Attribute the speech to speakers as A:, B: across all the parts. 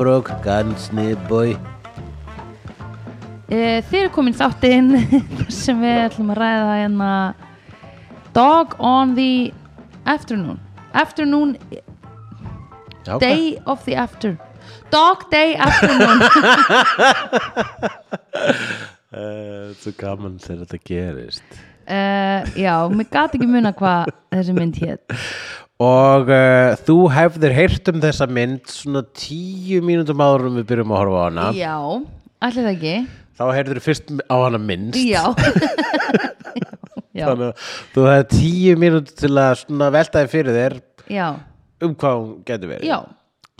A: Hann snibboy
B: Eh, Þið eru komin þáttinn þar sem við ætlum að ræða hérna Dog on the afternoon Afternoon,
A: Já, hvað?
B: day of the after Dog day afternoon
A: Eh, Þetta er gaman þegar þetta gerist
B: uh, Já, mér gat ekki muna hvað þessi mynd hétt
A: Og uh, þú hefðir heyrt um þessa mynd svona tíu mínútum áður um við byrjum að horfa á hana
B: Já, allir það ekki
A: Þá heyrður fyrst á hana minnst
B: Já Já,
A: Þannig að þú hefði tíu mínútur til að svona veltaði fyrir þér
B: já,
A: um hvað hún getur verið
B: já.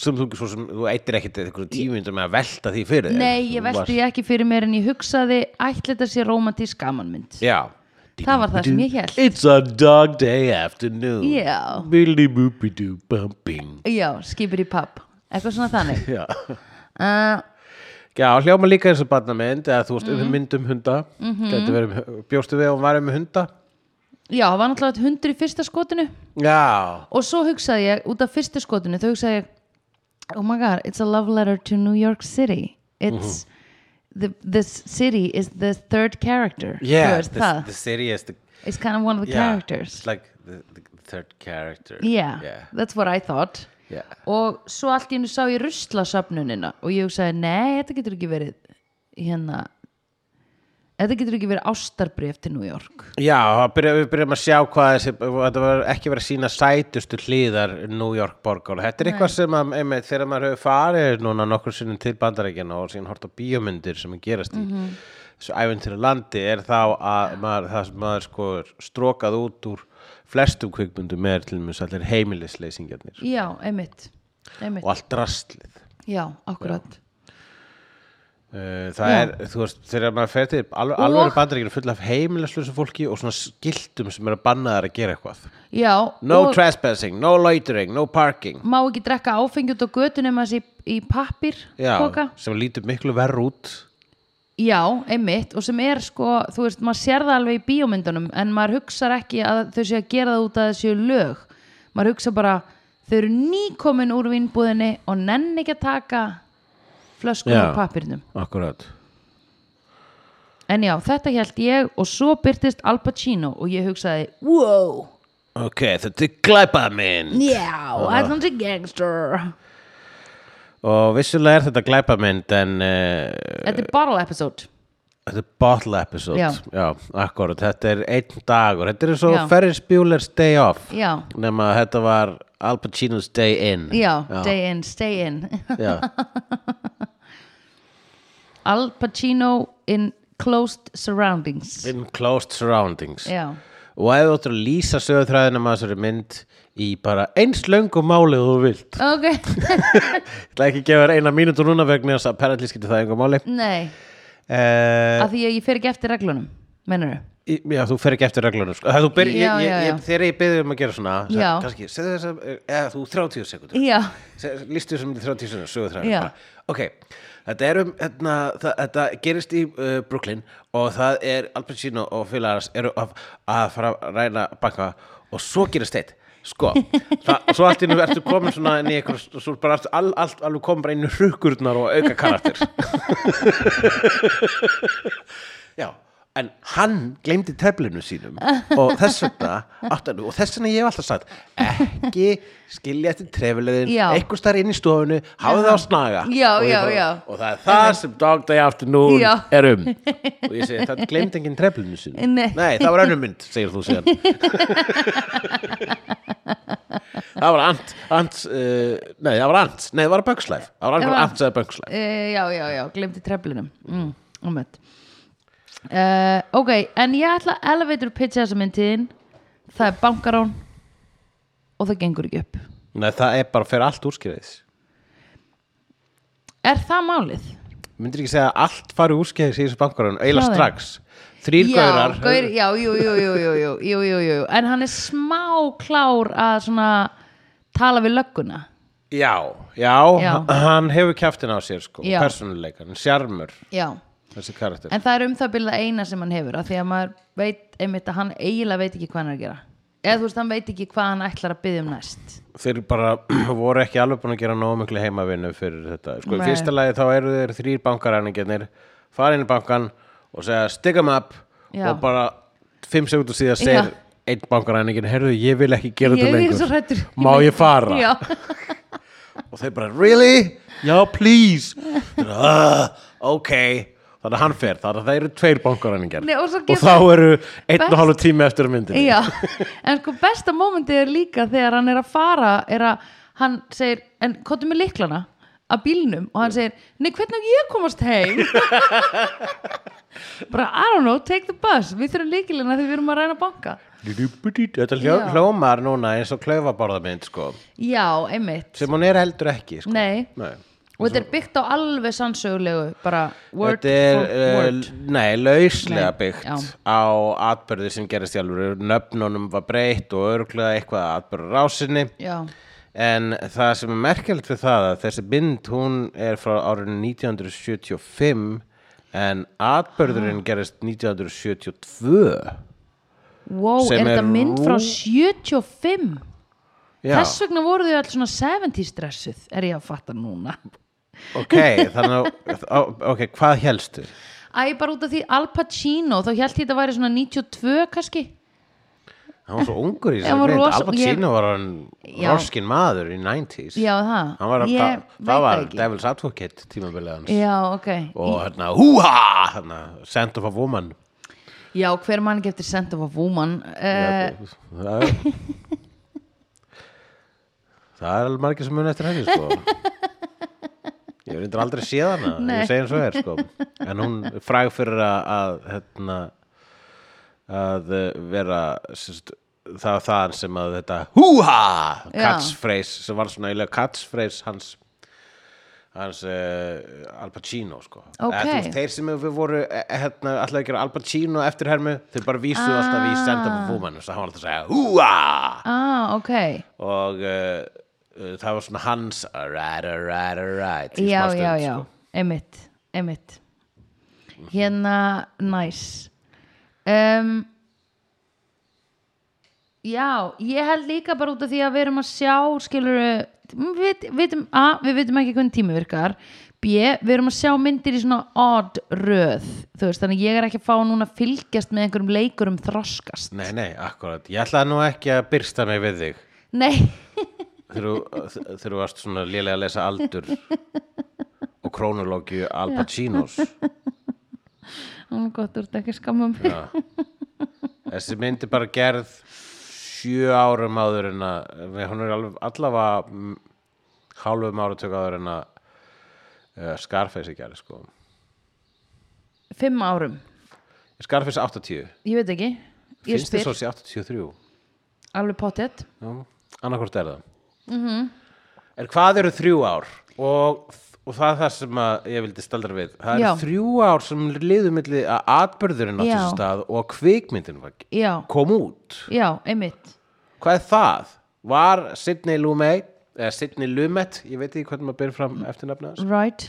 A: Sem þú, svo sem þú eittir ekkit eitthvað tíu mínútur með að velta því fyrir þér
B: Nei, ég
A: Þú
B: velti
A: varst-
B: ekki fyrir mér en ég hugsaði ætli þetta sé romantísk gamanmynd
A: Já
B: Það var það sem ég hélt.
A: It's a dog day afternoon
B: Já.
A: Billy boopy doo bumping
B: Já, skipir í papp Eitthvað svona þannig
A: Já
B: uh,
A: Já, hljóma líka eins og barnamynd eða þú veist,
B: Mhm.
A: mm. mynd um hunda mm verið, bjóstu við að hún var um hunda
B: Já, það var náttúrulega hundur í fyrsta skotinu
A: Já,
B: og svo hugsaði ég, út af fyrsta skotinu þá hugsaði ég, oh my god it's a love letter to New York City it's, the, this city is the third character Þú
A: Mhm. yeah,
B: veist
A: the,
B: það,
A: the city is the
B: it's kind of one of the
A: yeah,
B: characters
A: It's like the, the third character
B: yeah,
A: yeah,
B: that's what I thought
A: yeah.
B: og svo allt í hennu sá ég ruslasöfnunina og ég hugsaði, nei, þetta getur ekki verið hérna þetta getur ekki verið ástarbref til New York
A: Já, það byrja, við byrjum að sjá hvað þessi, þetta var ekki verið að sína sætustu hliðar New York borgar og þetta er eitthvað sem að, einmitt, þegar maður hefur farið núna nokkur sinnum til bandarækjana og síðan hort á bíómyndir sem er gerast í
B: Mhm.
A: þessu æventir landi er þá að maður, það sem maður sko er strokað út úr flestum kvikmyndum er til mjög allir heimilisleysingjarnir
B: já, einmitt, einmitt.
A: og allt drastlið
B: já, akkurat
A: Uh, það
B: Já.
A: er, þú veist, þegar maður fer til alveg,
B: Og-
A: alveg bandaríkjana full af heimilisleysum fólki og svona skiltum sem eru bannaðar að gera eitthvað
B: já,
A: No
B: og-
A: trespassing, no loitering, no parking
B: má ekki drekka áfengi út á götu nema þessi í pappir
A: Já,
B: koka.
A: sem lítur miklu verr út
B: Já, einmitt og sem er sko, þú veist, maður sér það alveg í bíómyndunum en maður hugsar ekki að þau séu að gera það út að þau séu lög maður hugsa bara, þau eru nýkomin úr vinnbúðinni og nenni ekki að taka flöskunum
A: Já.
B: og pappirnum
A: Akkurat
B: en já, þetta held ég og svo byrtist Al Pacino og ég hugsaði, wow
A: Ok, þetta er glæpa minn
B: já, þetta er gangster
A: Og vissulega er þetta glæpa mynd en uh,
B: þetta er bottle episode
A: þetta er bottle episode
B: Já.
A: akkurat, þetta er einn dagur Þetta er svo
B: Já.
A: Ferris Bueller's Day Off
B: já,
A: Nefna að þetta var Al Pacino's Day In
B: já, day in, stay in
A: Já,
B: Al Pacino in closed surroundings
A: In closed surroundings
B: já,
A: Og ef þú áttur að lýsa sögutræðina maður þessari mynd í bara eins löngu máli og þú vilt
B: ok
A: Ég ætla ekki að gefa þér eina mínútu núna vegna þess að apparently skiptir það engum máli.
B: nei,
A: Uh,
B: af því að ég fer ekki eftir reglunum mennur þau?
A: já, þú fer ekki eftir reglunum. Sko. Þú byr,
B: Já,
A: ég,
B: já,
A: ég,
B: já.
A: ég, þegar ég byrði um að gera svona, sagði,
B: Já.
A: kannski, segðu þess að, eða þú 30 sekundur,
B: já,
A: lístu þessum í 30 sekundur, sögur það.
B: Já.
A: Ok, þetta er um, hérna, það, þetta gerist í uh, Brooklyn og það er Al Pacino og félagarnas eru að, að fara að ræna banka og svo gerist þetta. Sko, það, og svo allt í nú ertu komin svona inn í eitthvað, svo bara ertu all, all, alveg komin bara inn í hrukkurnar og auka karakter. Já, en hann gleymdi teflinu sínum og þess vegna átti hann og þess vegna ég hef alltaf sagt ekki skilja eftir trefilegðin
B: Já.
A: einhver starf inn í stofunu, hafa það á snaga
B: Já,
A: og, ég
B: já,
A: bara-
B: já.
A: og það er það sem Dog Day Afternoon
B: Já.
A: er um og ég segi, það gleymdi enginn treflinu sínum
B: Nei.
A: það var önnum mynd, segir þú síðan það var ant, ant uh, nei, það var ant, nei, það var Bugslife það var
B: var-
A: angur ant sem Bugslife
B: e, já, já, já glemdi treflunum mm, um uh, ok, en ég ætla að elevator pitcha þessa myndin það er bankarón og það gengur ekki upp
A: nei, það er bara, fer allt úrskriðis
B: er það málið?
A: myndir ekki segja að allt fari úrskeiðis í þessu bankarun eiginlega
B: Hraðar.
A: strax þrýr
B: já,
A: gaurar
B: gaur, já, jú, jú, jú, jú, jú, jú, jú, jú en hann er smá klár að svona tala við lögguna
A: já, já,
B: Já.
A: hann hefur kjaftin á sér sko,
B: Já.
A: persónuleikan, sjarmur
B: já,
A: þessi karakter
B: En það er um það byrjað eina sem hann hefur af því að maður veit einmitt að hann eiginlega veit ekki hvað hann er að gera eða þú veist, hann veit ekki hvað hann ætlar að byggja um næst
A: þeir bara voru ekki alveg búin að gera nógu miklu heimavinnu fyrir þetta sko, í
B: Nei.
A: fyrsta lagi þá eru þeir þrýr bankaræningjarnir fara inn í bankan og segja stick 'em up
B: Já.
A: og bara fimm sekundur síðan segir
B: Já.
A: einn bankaræningin, herðu ég vil ekki gera
B: Ég
A: þetta
B: er
A: lengur
B: svo hrættur
A: má ég fara
B: Já,
A: og þeir bara really, já please þeir, uh, ok þannig að hann fer, þannig að það eru tveir bankaræningjar
B: Nei, og svo
A: og
B: gefur-
A: þá eru einn og
B: Best-
A: hálfu tími eftir að myndinni
B: já En sko besta mómentið er líka þegar hann er að fara er að hann segir en kottu með liklana að bílnum og hann segir, nei hvernig á ég að komast heim bara I don't know, take the bus við þurfum líkilina þegar við erum að ræna banka
A: þetta hljó,
B: Já.
A: hljómar núna eins og klaufaborðamynd sko
B: já, einmitt
A: sem hún er heldur ekki sko.
B: Nei.
A: Nei.
B: og þetta er byggt á alveg sannsögulegu bara word
A: þetta er
B: for word
A: uh, nei, lauslega
B: Nei,
A: byggt
B: já.
A: á atbyrði sem gerist í alvöru nöfnunum var breytt og örglega eitthvað atbyrður rásinni
B: já,
A: en það sem er merkjöld við það að þessi mynd hún er frá árinu 1975 en
B: Ah.
A: atbyrðurinn gerist 1972
B: wow,
A: Sem er
B: er þetta mynd frá
A: rú-
B: 75
A: Já.
B: þess vegna voru þau alls svona 70 stressuð er ég að fatta núna
A: ok, þannig að ó- ok, hvað helstu?
B: Æ, bara út af því Al Pacino þá held ég þetta væri svona 92 kannski
A: hann var svo ungur í
B: Ég
A: þessari
B: var
A: mynd
B: rosa-
A: Al Pacino var hann
B: Já.
A: roskin maður í 90s
B: já, það,
A: Hann var,
B: ég
A: það,
B: veit
A: það var
B: ekki.
A: Devil's Advocate tímabilið hans
B: já, ok,
A: og hérna húha hérna, Send of a Woman
B: já, hver mann ekki eftir Send of a Woman uh,
A: það er það er alveg margir sem muni eftir henni sko ég hef reyndur aldrei séð hana
B: Nei.
A: ég segi eins og er sko en hún er fræg fyrir að, að hérna að eh, vera sérst, það var það sem að þetta húha
B: Já.
A: catchphrase sem var svona eiginlega catchphrase hans hans uh, Al Pacino sko
B: Ok.
A: Eða, þú veist, þeir sem við voru eh, hérna, alltaf að gera Al Pacino eftir hermu þeir bara vísuðu alltaf í Send of a Woman þess að hann var alltaf að segja húa
B: ah, ok
A: og uh, uh, það var svona hans alright, alright, alright í
B: já,
A: smá stund,
B: já, já,
A: sko. Mhm.
B: einmitt einmitt hérna, næs um, já, ég held líka bara út af því að við erum að sjá skilur við, vitum, a, við vitum ekki hvernig tími virkar b, við erum að sjá myndir í svona odd röð, þú veist, þannig að ég er ekki að fá núna að fylgjast með einhverjum leikurum þroskast,
A: Nei, nei, akkurat, ég ætlaði nú ekki að byrsta mig við þig
B: nei
A: þegar þú- þegar þú varst svona lélega að lesa aldur og krónulógju Al Pacinos
B: Ó, gott, þú ert ekki að skamma um mig
A: Já. þessi mynd er bara gerð sjö árum áður en að við- hún er alveg allavega mm, hálfum áratök áður en að uh, Scarface er gerð sko.
B: fimm árum,
A: Scarface er 80
B: ég veit ekki ég
A: finnst þið
B: spyr,
A: svo sé 83
B: alveg pottet
A: annarkvort er það Mm-hmm. en hvað eru þrjú ár og, og það er það sem að ég vildi staldra við það eru
B: Já.
A: þrjú ár sem liðu milli að atbörðurinn á
B: Já.
A: þessu stað og að kvikmyndin var,
B: já,
A: kom út
B: Já, einmitt
A: hvað er það? var Sidney Lumet eða Sidney Lumet, ég veit ekki hvernig maður byrja fram eftir nafna þess
B: Right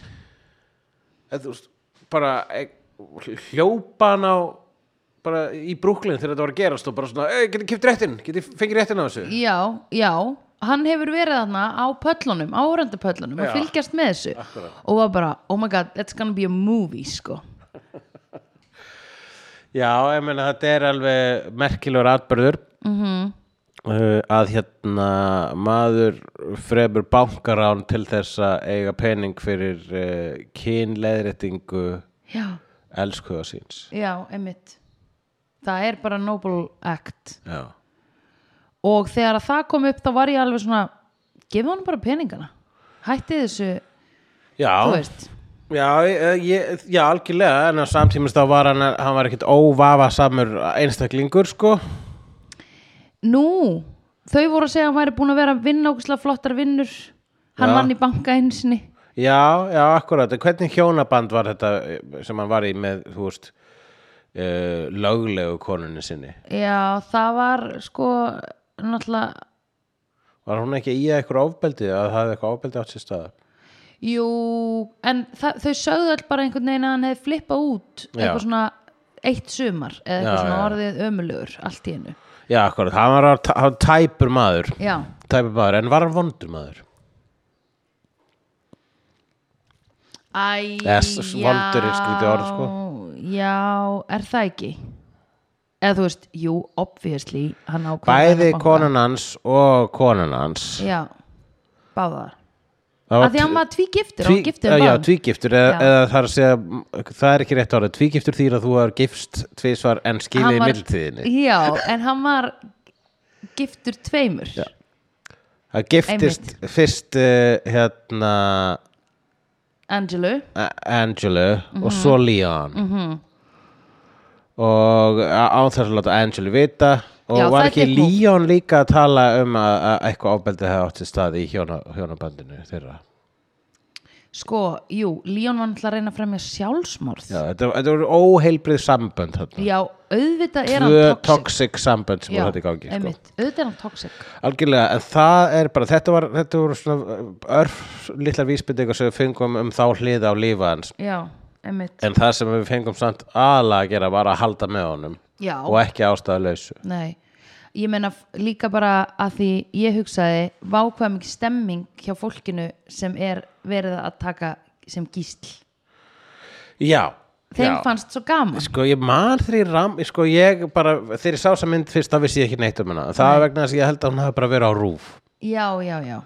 A: Eða þú veist, bara e, hljópan á bara í Brooklyn þegar þetta var að gerast og bara svona, "Ey, getið kipt réttin, getið fengið réttin á þessu
B: Já, já, hann hefur verið þarna á pöllunum, árandi pöllunum
A: Já.
B: að fylgjast með þessu
A: Akkurat.
B: og var bara, oh my god, that's gonna be a movie sko.
A: Já, ég meina þetta er alveg merkilegur atbyrður mm
B: Mhm.
A: að hérna maður fremur bankarán til þess að eiga pening fyrir uh, kynleðréttingu
B: Já,
A: elskuða síns
B: já, einmitt Það er bara noble act
A: Já,
B: og þegar að það kom upp þá var ég alveg svona gefa hann bara peningana hætti þessu, þú
A: já,
B: veist
A: já, ég- ég, já algjörlega en á samtímis þá var hann, hann var ekkit óvafa samur einstaklingur sko
B: Nú, þau voru að segja að hann væri búin að vera að vinna ógustlega flottar vinnur hann
A: Já.
B: vann í banka einu sinni
A: Já, já, akkurat, En hvernig hjónaband var þetta eh, sem hann var í með, þú veist uh, löglegu konunni sinni
B: Já, það var sko náttúrulega
A: Var hún ekki í eitthvað ofbeldi að það hefði eitthvað ofbeldi átt sér staða?
B: Jú, en þa- þau sögðu öll bara einhvern veginn að hann hefði flippað út
A: Já.
B: eitthvað svona eitt sumar eða eitthvað
A: Já,
B: svona
A: já.
B: orðið ömulegur allt í hennu
A: já, akkurat, hann var að- hann tæpur maður
B: já,
A: tæpur maður, en var hann vondur maður
B: æ,
A: Yes, vondur er skrítið orð, sko.
B: já, er það ekki eða þú veist, jú, obviously hann á
A: bæði
B: banka.
A: konan hans og konan hans
B: já, báðar
A: Það var
B: að því að maður
A: tví-
B: tvígiftir, hann giftir um
A: já,
B: báðum.
A: tvígiftur eða,
B: Já.
A: eða það, er að segja, m, það er ekki rétt árið tvígiftur þýr að þú er gifst tvisvar en skilið
B: Hann
A: í
B: var-
A: mildtíðinni
B: já, en hann var giftur tveimur já,
A: það giftist fyrst uh, hérna
B: Angelu
A: A- Angelu og svo
B: Mhm.
A: Leon -hmm. og áþess að láta Angelu vita og
B: Já,
A: var
B: það
A: ekki
B: gekk nú.
A: Leon líka að tala um að, að eitthvað ábeldið hefði átt sér stað í hjóna, hjónabandinu þeirra
B: sko, jú, Leon var náttúrulega að reyna að fremja sjálfsmorð
A: Já, þetta, þetta voru óheilbrið sambönd þarna.
B: Já, auðvitað er
A: tvö
B: hann toxic
A: toxic sambönd sem
B: Já,
A: voru þetta í gangi sko.
B: einmitt, auðvitað er hann toxic
A: algjörlega, en það er bara þetta, var, þetta voru svona uh, örf litlar vísbendingar sem við fengum um þá hliða á lífa hans
B: Já, einmitt
A: en það sem við fengum samt aðla að gera var að halda með honum
B: Já,
A: og ekki ástæða lausu
B: nei Ég meina f- líka bara að því ég hugsaði vákvæða mikið stemming hjá fólkinu sem er verið að taka sem gísl
A: já,
B: Þeim
A: já.
B: fannst svo gaman
A: Sko ég man þegar ég ram Sko ég bara, þegar ég sá þessa mynd fyrst þá vissi ég ekki neitt um hana En Það er vegna þess að ég held að hún hafi bara verið á rúf
B: Já, já, já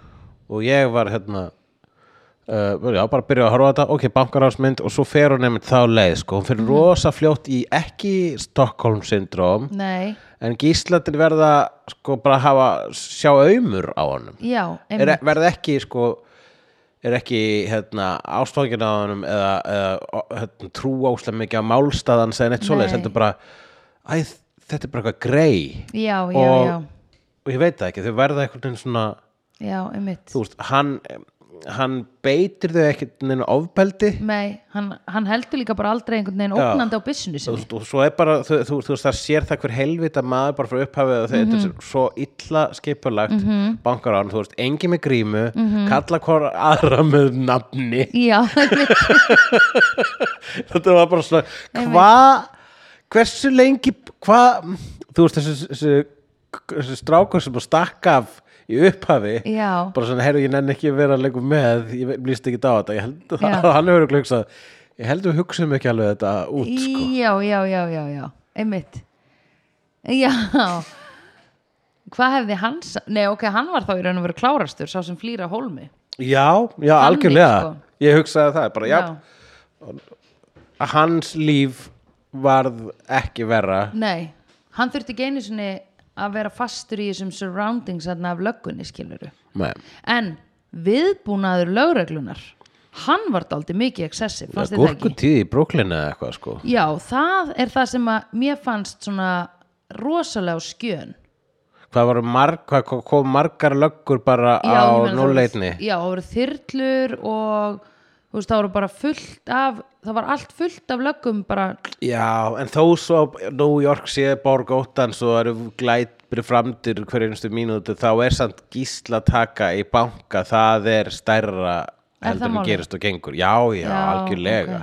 A: Og ég var hérna uh, Já, bara byrjuð að horfa á þetta Ok, bankarásmynd og svo fer hún nefnt þá leið Sko, hún fer
B: Mhm.
A: rosa fljótt í ekki Stockholm syndrom
B: Nei,
A: En gíslatir verða sko bara hafa Sjá aumur á honum
B: já,
A: er,
B: einmitt
A: Verða ekki sko er ekki hérna, ástfangin á honum eða, eða hérna, trú áslega mikið á málstaðan segja neitt svoleiðis,
B: Nei.
A: þetta er bara æ, þetta er bara eitthvað grei
B: Já, já,
A: e- og,
B: já,
A: og ég veit það ekki, þau verða einhvern veginn svona
B: já, einmitt
A: þú veist, hann, hann beitir þau ekkert neina ofbeldi
B: Nei, hann, hann heldur líka bara aldrei einhvern veginn
A: Já.
B: ógnandi á byssinu
A: þú
B: sinni
A: veist, og svo er bara þú, þú, þú veist, það sér það hver helvita maður bara frá upphafið að þetta
B: Mhm.
A: er svo illa skipulagt mm -hmm. bankar án, þú veist, engi með grímu
B: Mhm.
A: kalla hvora aðra með nafni
B: Já, einmitt
A: þetta var bara svona hvað, hversu lengi hvað, þú veist þessu, þessu, þessu strákur sem var stakk af í upphafi
B: Já.
A: bara svona, heyrðu, ég nenni ekki að vera lengur með ég líst ekki á þetta, ég held að
B: Já.
A: hann hefur örugglega hugsað, ég held að við hugsaum ekki alveg þetta út, sko
B: Já, já, já, já, já, einmitt Já Hvað hefði hann sa- Nei, ok, hann var þá í raun og veru klárastur sá sem flýra hólmi
A: já, já, algjörlega
B: sko.
A: ég hugsaði það, bara, já, hans líf varð ekki verra
B: Nei, hann þurfti ekki einu sinni að vera fastur í þessum surroundings þarna af löggunni, skiluru
A: Nei.
B: En viðbúnaður lögreglunar hann var dálítið mikið excessive, fannst þið það ekki?
A: gúrkutíð í Brooklyn eða eitthvað, sko
B: Já, það er það sem að mér fannst svona rosalega á skjön
A: hvað var marg, hvað kom- kom margar löggur bara
B: Já,
A: á
B: ég meina, það voru-
A: núleitni
B: já, það voru þyrlur og þú veist, það voru bara fullt af það var allt fullt af löggum bara,
A: já, en þó svo New York sé borg óttan svo eru glætbri framdir hverju einstu mínútu þá er samt gísla taka í banka, það er stærra
B: Er það
A: heldur en
B: málið?
A: gerist og gengur já, já,
B: Já,
A: algjörlega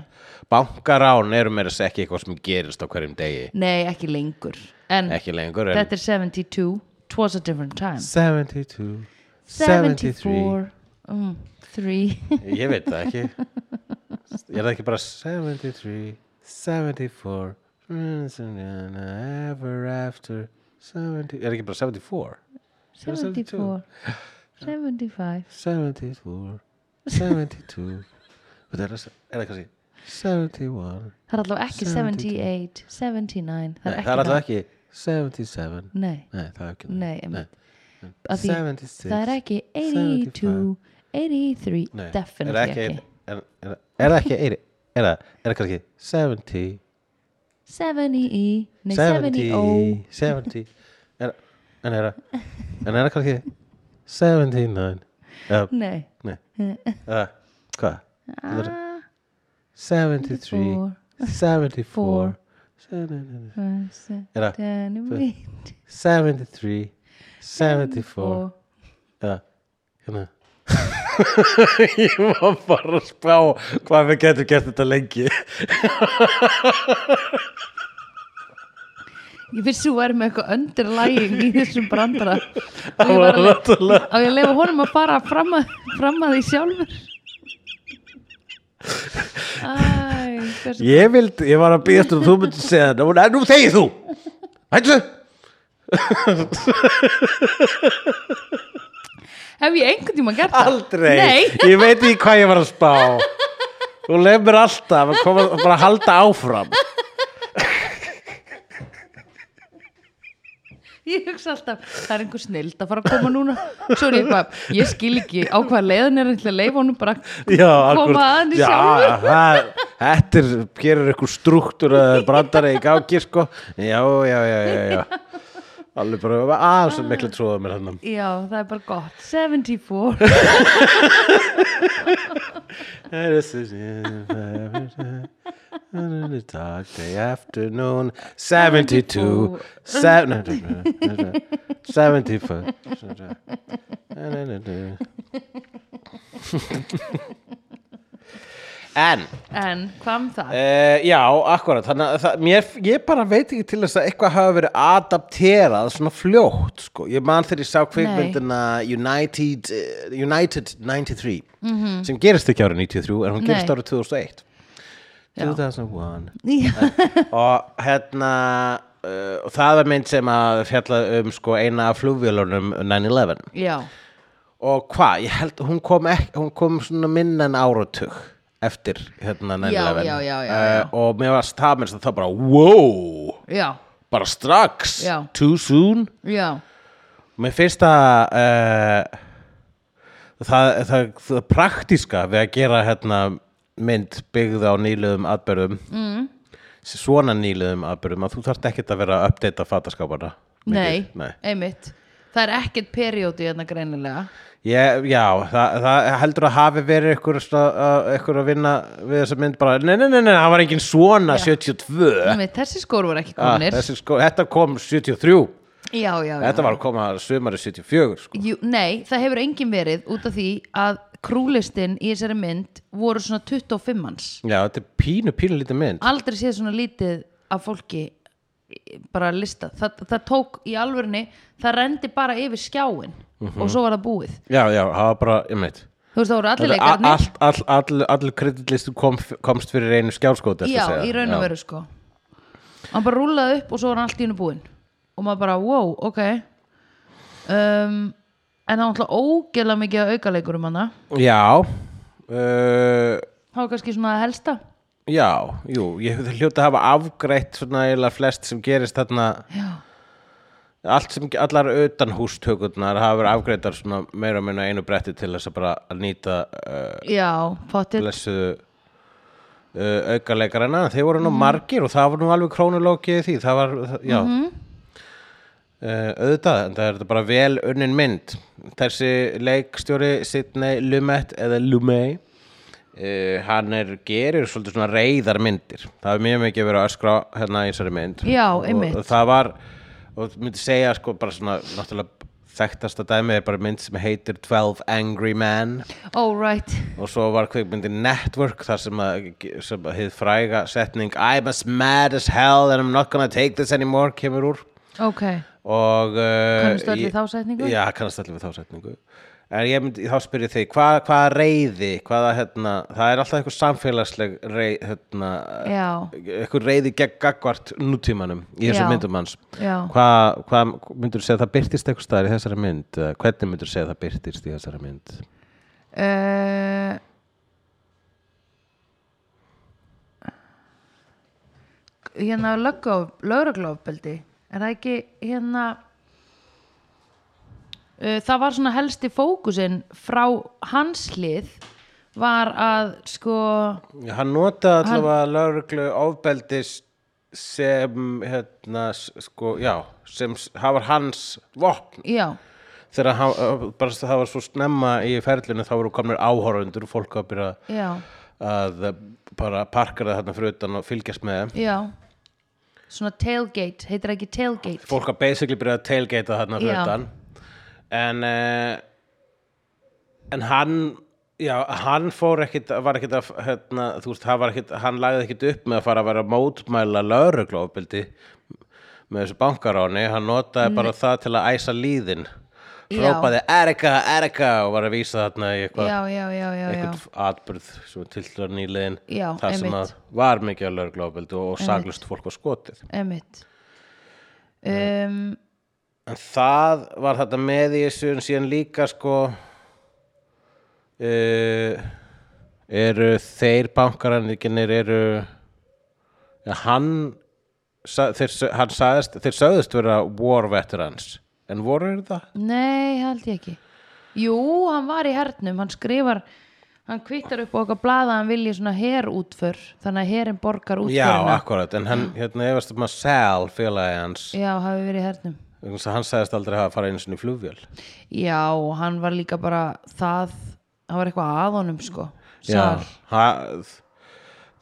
A: bankarán eru meira að segja ekki eitthvað sem gerist á hverjum degi,
B: nei, ekki lengur en
A: ekki lengur en
B: Mm. þetta er 72 it was a different time
A: 72 73
B: 74 mm, 3
A: Ég veit það ekki Ég er það ekki bara 73, 74 Ever after 70, er ekki bara 74
B: 74 75
A: 74 72 Veit það, Er það er það kannski 71
B: það er allavega ekki 78 79
A: Nei, Það er alltaf ekki 77
B: nei,
A: Nei, það er ekki
B: nei, nei. Af því,
A: 76
B: það er ekki 82 83
A: Nei, er
B: definitely
A: það
B: ekki,
A: Er er- er það ekki 80 Er það, er það kannski 70
B: 70 í nei,
A: E.
B: 70 ó
A: 70 70 er, en er það en er það kannski 79 eða,
B: Nei
A: nei eða, hvað Þetta er
B: Ah,
A: 73 74 79, er það
B: Denim
A: 73 74
B: og
A: eða, hérna ég var bara að spá hvað við getum gert þetta lengi
B: ég vissi þú er með eitthvað underlæging í þessum brandara og
A: Það
B: ég
A: var
B: var alveg
A: náttúrulega
B: á ég að lefa honum að fara fram að, fram að því sjálfur Æ, hversu
A: Ég vild, ég var að býðast og þú myndi segja þetta Hún, "En nú þegið þú Hættu
B: Hef ég einhvern tíma gert það?
A: Aldrei
B: Nei.
A: Ég veit ekki hvað ég var að spá Þú leið mér alltaf að koma bara að halda áfram
B: Ég hugsa alltaf, það er einhver snild að fara að koma núna Svo er ég eitthvað, ég skil ekki á hvaða leiðin er ætla að leifa honum bara
A: Já, akkurat.
B: koma að henni
A: Já,
B: sjálfur
A: það- Þetta er, gerir ykkur struktúr að brandari í gangi sko Já, já, já, já, já Alveg bara, að, svo mikla trúða mér hann
B: Já, það er bara gott 74
A: Saturday afternoon 72 seven- 74 En
B: En hvað um það?
A: Uh, já, akkurat, þannig að það, mér, ég bara veit ekki til þess að eitthvað hafa verið adapterað svona fljótt, sko. Ég man þegar ég sá kvikmyndina United, eh, United 93, sem gerist ekki árið 93, en hún gerist
B: Mhm. Nei.
A: árið 2001. Eh,
B: Já.
A: 2001
B: Já,
A: og hérna uh, og það var mynd sem að fjalla um sko eina af flugvélunum 9-11
B: já,
A: og hvað, ég held hún kom, ekki, hún kom svona minna en áratug eftir hérna 9-11
B: já, já, já,
A: Eh,
B: já.
A: og mér var stafnir það bara, wow,
B: já,
A: bara strax
B: Já.
A: too soon
B: já
A: mér finnst að uh, það, það, það praktíska við að gera hérna mynd byggð á nýluðum atbyrðum mm. svona nýluðum atbyrðum að þú þarft ekkert að vera að uppdata fataskápana
B: Nei,
A: Nei.
B: einmitt Það er ekkert periódi hérna greinilega
A: Ég, já, það, það heldur að hafi verið ykkur, ykkur að vinna við þessa mynd bara, nei, nei, nei, nei, það var engin svona 72
B: Einmitt, Þessi skór voru ekki
A: Eh. ah,
B: komnir
A: þessi sko, Þetta kom 73
B: Já, já, já
A: Þetta var að koma sumari 74 sko.
B: Jú, nei, það hefur engin verið út af því að krúlistin í þessari mynd voru svona 25 manns
A: Já, þetta er pínu, pínu lítið mynd
B: aldrei séð svona lítið af fólki eh, bara lista það, það tók í alvörni það rendi bara yfir skjáin
A: Mhm.
B: og svo var það búið
A: Já, já, það var bara, ég meit
B: þú veist það voru allir
A: Þetta er a-
B: leikarnir
A: Allt, all, all, all kreditlistu kom, komst fyrir einu skjálskóti
B: já, í raun og veru sko hann bara rúlaði upp og svo var hann allt í hennu búinn og maður bara, wow, ok um, en það var alltaf ógeðlega mikið að auka leikur um hana
A: Já, uh,
B: það var kannski svona það helsta
A: já, jú Ég hefði hljóta að hafa afgreitt svona eiginlega flest sem gerist þarna
B: já,
A: allt sem, allar utan hústökurnar hafa verið afgreitar svona meira og minna einu bretti til þess að bara að nýta uh,
B: já potið
A: blessuðu uh, aukaleikarana þeir voru nú
B: Mhm.
A: margir og það var nú alveg krónulókið í því það var, það, já
B: Mhm.
A: uh, auðvitað, en það er þetta bara vel unnin mynd þessi leikstjóri Sidney Lumet eða Lumey Uh, hann er gerir svolítið svona reyðar myndir það er mjög mikið verið að öskra hérna í þessari mynd
B: Já,
A: Og-
B: einmitt.
A: og það var, og þú myndi segja sko bara svona, náttúrulega þekktasta dæmi er bara mynd sem heitir 12 Angry Men
B: all right
A: og svo var kvikmyndin Network þar sem að, sem að hið fræga setning I'm as mad as hell and I'm not gonna take this anymore kemur úr
B: ok,
A: og uh,
B: Kannastu öll við
A: ég-
B: þá setningu?
A: Já, kannast allir við þá setningu en ég myndi, þá spyrir þig, hvað, hvað reyði hvaða, hérna, það er alltaf eitthvað samfélagsleg reyð, hérna
B: Já.
A: eitthvað reyði gegn gagvart nútímanum í
B: Já.
A: þessum myndum hans
B: Já.
A: hvað hva, myndur þú segja að það byrtist eitthvað staðar í þessari mynd eða hvernig myndur þú segja að það byrtist í þessari mynd
B: Uh, hérna lögreglofabildi er það ekki hérna uh, það var svona helsti fókusinn frá hans hlið var að sko
A: Já, hann notaði allavega lauruglu ofbeldis sem hérna, s- sko, já sem s- það var hans vopn
B: já,
A: þegar hann, ö, bara það var svo snemma í ferlinu þá voru komnir áhorundur og fólk að byrja
B: já,
A: að bara parkara þarna fyrir utan og fylgjast með þeim
B: já svona tailgate, heitir ekki tailgate
A: fólk að basically byrja að tailgata þarna fyrir
B: Já.
A: utan en eh, en hann já, hann fór ekkit var ekkit að, hérna, þú veist, hann var ekkit hann lagði ekkit upp með að fara að vera að mótmæla lögreglu ofbeldi með þessu bankaráni, hann notaði bara það til að æsa líðin
B: Mm. Já.
A: Rópaði Erika, Erika og var að vísa þarna í eitthvað
B: já, já, já, já, já.
A: eitthvað atbyrð sem til þar nýliðin
B: Já,
A: það sem
B: einmitt.
A: að var mikið að lögreglófbeldu og saglust fólk var skotið
B: Einmitt. um,
A: en það var þetta með í þessu en síðan líka sko uh, eru þeir bankarannir eru ja, hann sa, þeir, sö- hann sagðist, þeir sögðust vera war veterans en voru þeir það?
B: Nei, held ég ekki Jú, hann var í hernum, hann skrifar hann kvittar upp á okkar blaða að hann vilji svona herútför þannig að herin borgar
A: Já,
B: útförina
A: akkurat, en hann, hérna, efast um að Sal félagi hans,
B: Já, hafi verið í hernum
A: vegna þess að hann sagðist aldrei hafa að fara einu sinni í flugvél
B: Já, hann var líka bara það hann var eitthvað að honum sko
A: Já,
B: Sal.
A: það,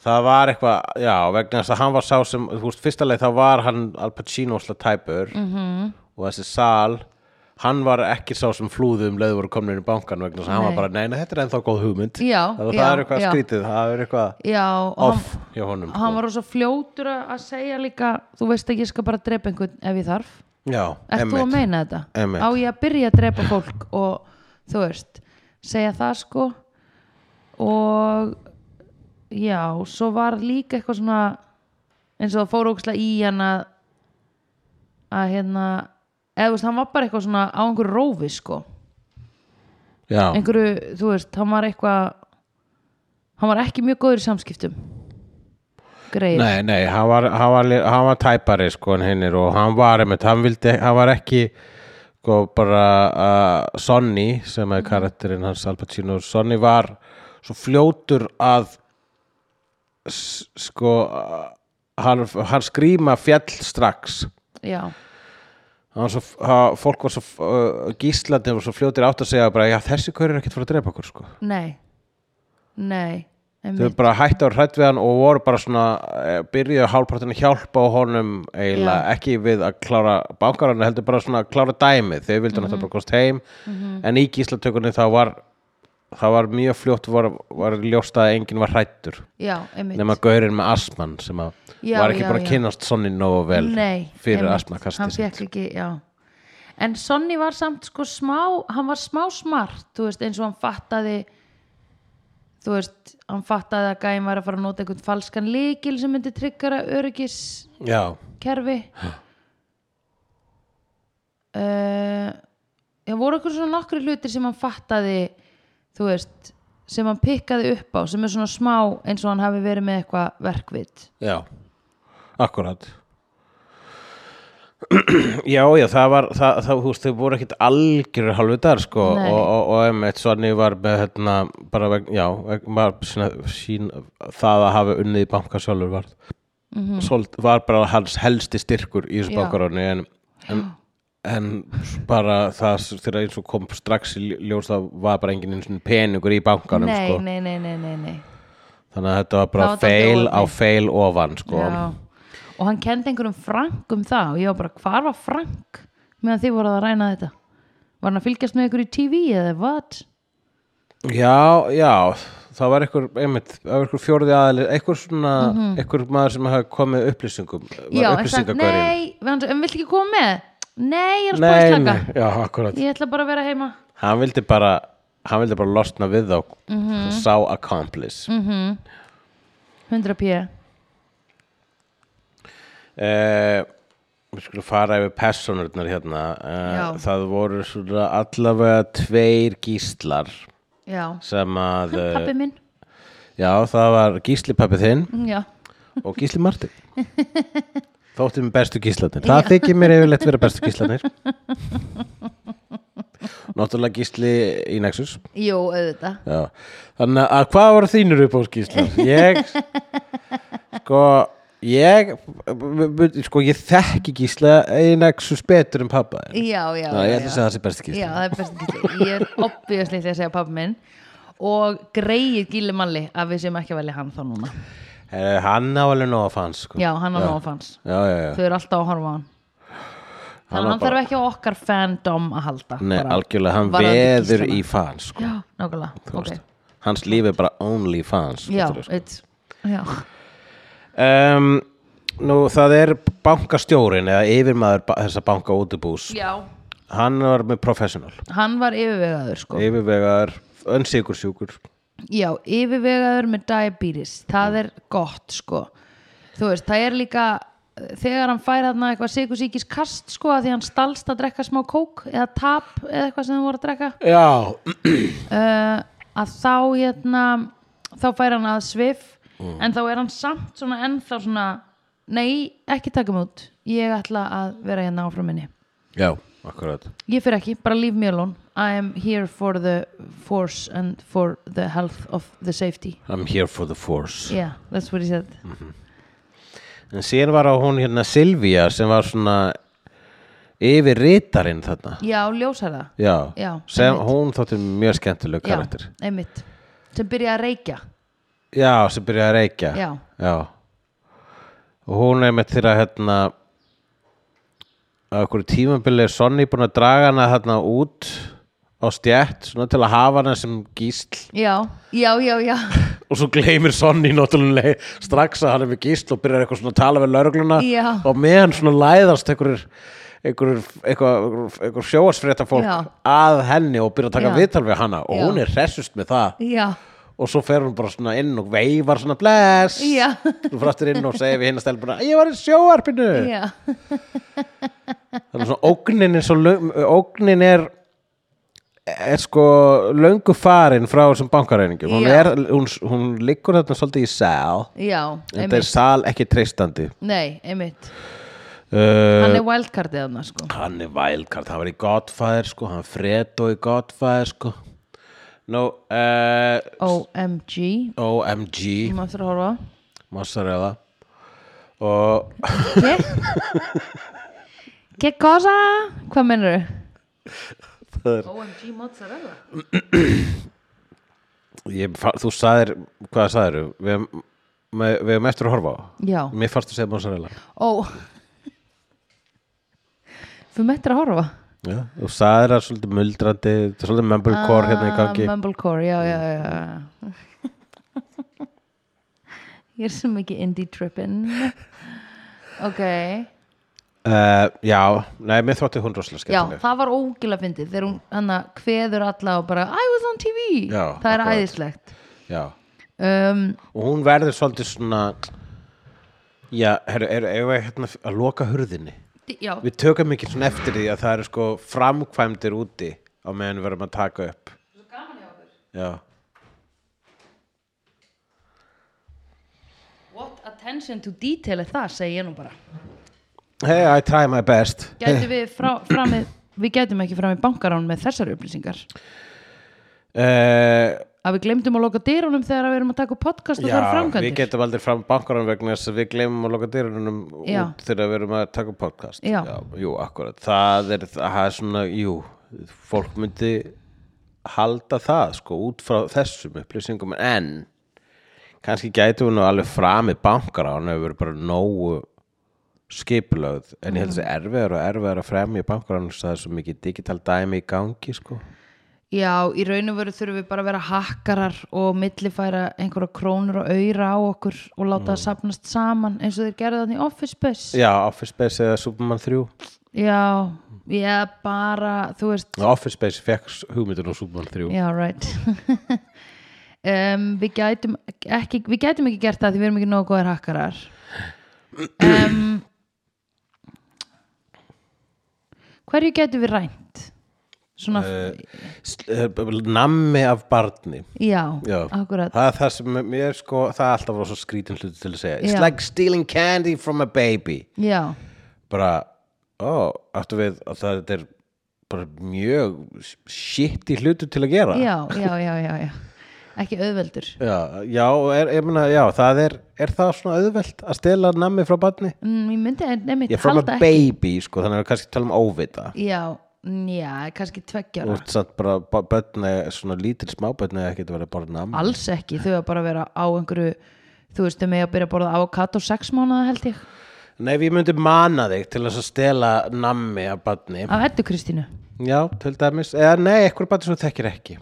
A: það var eitthvað, já, vegna þess að hann var sá sem, þú veist, fyrsta leið þá var hann Al Pacino slá tæpur -hmm. og þessi sal, hann var ekki sá sem flúði um leiður voru komin inn í bankan vegna þess að hann var
B: Nei.
A: bara, nei, nei, þetta er ennþá góð hugmynd.
B: Já,
A: það,
B: já,
A: það er eitthvað
B: já.
A: skrítið, það er eitthvað
B: Já, og hann,
A: off hjá honum.
B: hann
A: sko.
B: var rosa fljótur að að segja líka þú veist ekki, ég skal bara drepa einhvern ef ég þarf
A: já,
B: Ert þú að
A: einmitt.
B: meina þetta?
A: Einmitt.
B: Á ég að byrja að drepa fólk og þú veist, segja það sko og já, svo var líka eitthvað svona eins og það fór ókslega í hann að að hérna eða þú veist, hann var bara eitthvað svona á einhverju rófi sko,
A: Já,
B: einhverju, þú veist hann var eitthvað hann var ekki mjög góður í samskiptum greið,
A: Nei, nei, hann var, hann var, li- hann var tæpari sko en hinnir og hann var einmitt, hann vildi, hann var ekki sko bara uh, Sonny sem er karakterinn hans Al Pacino, Sonny var svo fljótur að s- sko uh, hann, hann skrýma fjall strax
B: já,
A: hann var svo, hann, fólk var svo uh, gíslandi var svo fljótur átt að segja bara, já þessi hver er ekkert fyrir að drepa okkur sko
B: nei nei,
A: Þau
B: einmitt
A: bara hættu að hrætt við hann og voru bara svona, eh, byrjuðu hálfpartin að hjálpa á honum eiginlega, ekki við að klára bankarann, heldur bara svona að klára dæmið, þau
B: Mhm.
A: vildu náttúrulega bara komast heim en í gíslatökunni þá var það var mjög fljótt var, var ljóst að enginn var hrættur
B: já, einmitt
A: nema gaurinn með asman sem að
B: Já,
A: var ekki
B: já,
A: bara að
B: já.
A: kynnast sonni nógu vel
B: Nei,
A: fyrir
B: einmitt,
A: asmakastið
B: hann
A: sitt
B: fekk ekki, já en Sonny var samt sko smá hann var smá smart, þú veist eins og hann fattaði þú veist, hann fattaði að gæm var að fara að nota einhvern falskan líkil sem myndi tryggara öryggiskerfi
A: Já,
B: uh, já, voru einhver svona nokkri hlutir sem hann fattaði þú veist, sem hann pikkaði upp á sem er svona smá eins og hann hafi verið með eitthvað verkvit
A: Já, akkurat Já, já, það var það, það, þú veist, þau voru ekkit algjörur halvutar, sko,
B: Nei.
A: og, og, og einmitt Sonni var með, hérna, bara veg, já, veg- var sína, sín það að hafa unnið í banka sjálfur var sold, var bara hans helsti styrkur í þessu
B: Mhm. Já.
A: bankaráni en, en, en bara það þegar eins og kom strax í ljós það var bara enginn einu sinni peningur í bankanum,
B: nei,
A: sko
B: nei, nei, nei, nei, nei
A: þannig að þetta var bara
B: Það var dálítið
A: feil á
B: óheppni.
A: feil ofan, sko
B: Já. og hann kendi einhverjum Frank um það og ég var bara, hvar var Frank meðan þið voruð að ræna þetta var hann að fylgjast með ykkur í TV eða what
A: Já, já, það var einhver, einmitt, það var einhver fjórði aðli, einhver svona, einhver maður sem hafði komið upplýsingum,
B: Mhm. já,
A: var
B: en sagt,
A: upplýsingagörinn.
B: nei, við hann, en vill ekki koma með nei, ég er að spáði slaka
A: nei, já, akkurat.
B: ég ætla bara að vera heima
A: Hann vildi bara, hann vildi bara losna við þá,
B: Mhm.
A: sá accomplice.
B: Mm. 100 p
A: Eh, við skulum fara yfir personurnar hérna.
B: Já.
A: Eh, það voru svona allavega tveir gíslar
B: já,
A: sem að, eh,
B: pappi minn mm,
A: já, það var gísli pappi þinn
B: já,
A: og Gísli Martin þótti mér bestu gíslanir það þykir mér yfirleitt vera bestu gíslanir náttúrulega Gísli í Nexus
B: jú, auðvitað
A: Já. þannig að hvað voru þínur upp á skíslar ég sko ég sko ég þekki Gísla í Nexus betur en pappa þinn.
B: já, já,
A: Ná, ég ætla að
B: já, já.
A: segja það sé bestu
B: Já,
A: gísla
B: það er best gilli. Ég er obviðslega að segja pappi minn og greið gilli malli að við séum ekki að velja hann þá núna.
A: Eh, hann á alveg nóg að fans sko.
B: Já, hann á nóg fans.
A: já, já, já.
B: þau eru alltaf að horfa á hann
A: Hann
B: þannig
A: var
B: að hann
A: bara-
B: þarf ekki á okkar fandom að halda
A: Nei,
B: bara
A: algjörlega hann
B: varðandi
A: veður
B: Gíslana.
A: í fans sko.
B: já, nákvæmlega,
A: Þú
B: ok
A: veist, hans sko, lífi er bara only fans
B: já, it's, já,
A: um, Nú, það er bankastjórin eða yfirmaður ba þessa banka útibús
B: já,
A: Hann var með professional
B: hann var yfirvegaður sko
A: Yfirvegaður, önsikursjúkur
B: já, yfirvegaður með diabetes það er gott sko þú veist, það er líka þegar hann fær þarna eitthvað sigursíkis kast sko að því hann stalst að drekka smá kók eða tap eða eitthvað sem hann voru að drekka
A: Já
B: uh, að þá hérna þá fær hann að svif en þá er hann samt svona ennþá svona nei, ekki taka mig út ég ætla að vera hérna áfram minni
A: Já, akkurat
B: ég fyrir ekki, bara leave me alone I am here for the force and for the health of the safety
A: I'm here for the force
B: yeah, that's what he said
A: En síðan var á hún hérna Silvía sem var svona yfir rítarinn þarna
B: já, ljósara
A: Já,
B: Já,
A: sem,
B: einmitt.
A: hún þótti mjög skemmtileg
B: já,
A: karakter
B: einmitt sem byrja að reykja
A: Já, sem byrjaði að reykja
B: Já.
A: Og hún er með þeirra hérna að okkur tímabili er Sonny búin að draga hana þarna út á stjætt svona til að hafa hana sem gísl
B: já, já, já, já
A: og svo gleymir Sonny náttúrulega strax að hann er með gísl og byrjar eitthvað svona að tala við lörgluna
B: Já.
A: og meðan svona læðast einhverjur einhver, einhver, einhver sjóasfrétta fólk
B: Já.
A: að henni og byrja að taka
B: Já.
A: viðtal við hana og
B: Já.
A: hún er hressust með það
B: já,
A: og svo fer hún bara svona inn og veifar svona bless
B: Já.
A: og fráttur inn og segir við hinn að stelpuna ég var í sjóarpinu
B: já,
A: þannig að svona ógnin er, svo, löng- ógnin er er sko löngu farin frá þessum bankareiningum hún,
B: Já.
A: er, hún, hún liggur þarna svolítið í sal
B: já
A: en það er sal ekki treystandi
B: nei, einmitt
A: uh,
B: hann er wildcardið hann sko
A: hann er vælkart, hann var í Godfather sko, hann Fredo í Godfather sko nú uh,
B: OMG
A: OMG
B: maður þarf að horfa á.
A: mozzarella og
B: Ke- Ke cosa? Hvað mennur þau? OMG mozzarella
A: Ég, fa- þú sagðir, hvað sagðir við, hefum- með- við hefum eftir að horfa á
B: Já,
A: mér fannst að segja mozzarella
B: ó Fyrir mettir að horfa
A: Já. þú sagðir að svolítið muldrandi þetta er svolítið mumblecore hérna í gangi
B: Ah, Mumblecore, já, já, já, já Ég er svo mikið indie trippin Ok
A: uh, já, nei, mér þótti hún rosalega
B: Já,
A: skemmtileg
B: það var ógilega fyndið þegar hún hana kveður alla og bara I was on TV,
A: Já,
B: það er
A: akkurat.
B: æðislegt
A: já.
B: um,
A: og hún verður svolítið svona já, herru, er, er, er hérna að loka hurðinni
B: d- Já,
A: við tökum ekki svona eftir því að það eru sko framkvæmdir úti á meðan við verðum að taka upp já,
B: What attention to detail er það, segi ég nú bara.
A: hey, I try my best
B: Gætum við frá, framið, við gætum ekki framið bankarán með þessar upplýsingar.
A: uh,
B: Að við glemdum að loka dyrunum þegar við erum að taka upp podcast og það er
A: við
B: framkvæmdir.
A: getum aldrei fram bankarann vegna þess að við gleymum að loka dyrunum
B: Já.
A: út þegar við erum að taka upp podcast
B: Já.
A: jú, akkurat, það er, það er svona, jú, fólk myndi halda það, sko, út frá þessum upplýsingum, en kannski gætum við nú alveg fram í bankarann ef við erum bara nógu skipulögð, en ég held að þessi erfiðar og erfiðar að fremja bankarann það er svo mikið digital dæmi í gangi, sko
B: Já, í raun og veru þurfum við bara að vera hakkarar og millifæra einhverja krónur og auðra á okkur og láta það sapnast saman eins og þeir gerðu þannig í Office Space.
A: Já, Office Space eða Superman 3
B: Já, ég bara, þú veist,
A: Office Space fekk hugmyndin á Superman 3
B: Já, right um, Við gætum ekki við gætum ekki gert það því við erum ekki nógu góðir hakkarar um, Hverju gætum við rænt? Svona,
A: Sl- eh, b- b- nammi af barni
B: já,
A: já.
B: akkurat
A: það er það sem mér sko það er alltaf rosa skrítin hluti til að segja it's
B: Já.
A: like stealing candy from a baby
B: Já,
A: bara, ó, áttu við að það þetta er bara mjög shitty hluti til að gera
B: já, já, já, já, já. Ekki auðveldur
A: já, já, er, ég meina, já það er, er það svona auðvelt að stela nammi frá barni
B: mm, Ég myndi nefnir
A: ég er from a
B: halda ekki
A: baby sko, þannig að við kannski tala um óvita
B: Já, mm, já, kannski
A: Þú
B: tveggjara
A: ert satt bara, ba- börn, eh, svona lítil smábörn eða ekkert að vera bara nammi
B: Alls ekki, þau að bara að vera á einhverju Þú veist, þau með að byrja að borða avokado sex mánuða held ég
A: Nei, ef ég myndi mana þig til þess að stela nammi af badni.
B: Af Eddu Kristínu
A: Já, til dæmis. Eða nei, eitthvað badni sem þú þekkir ekki.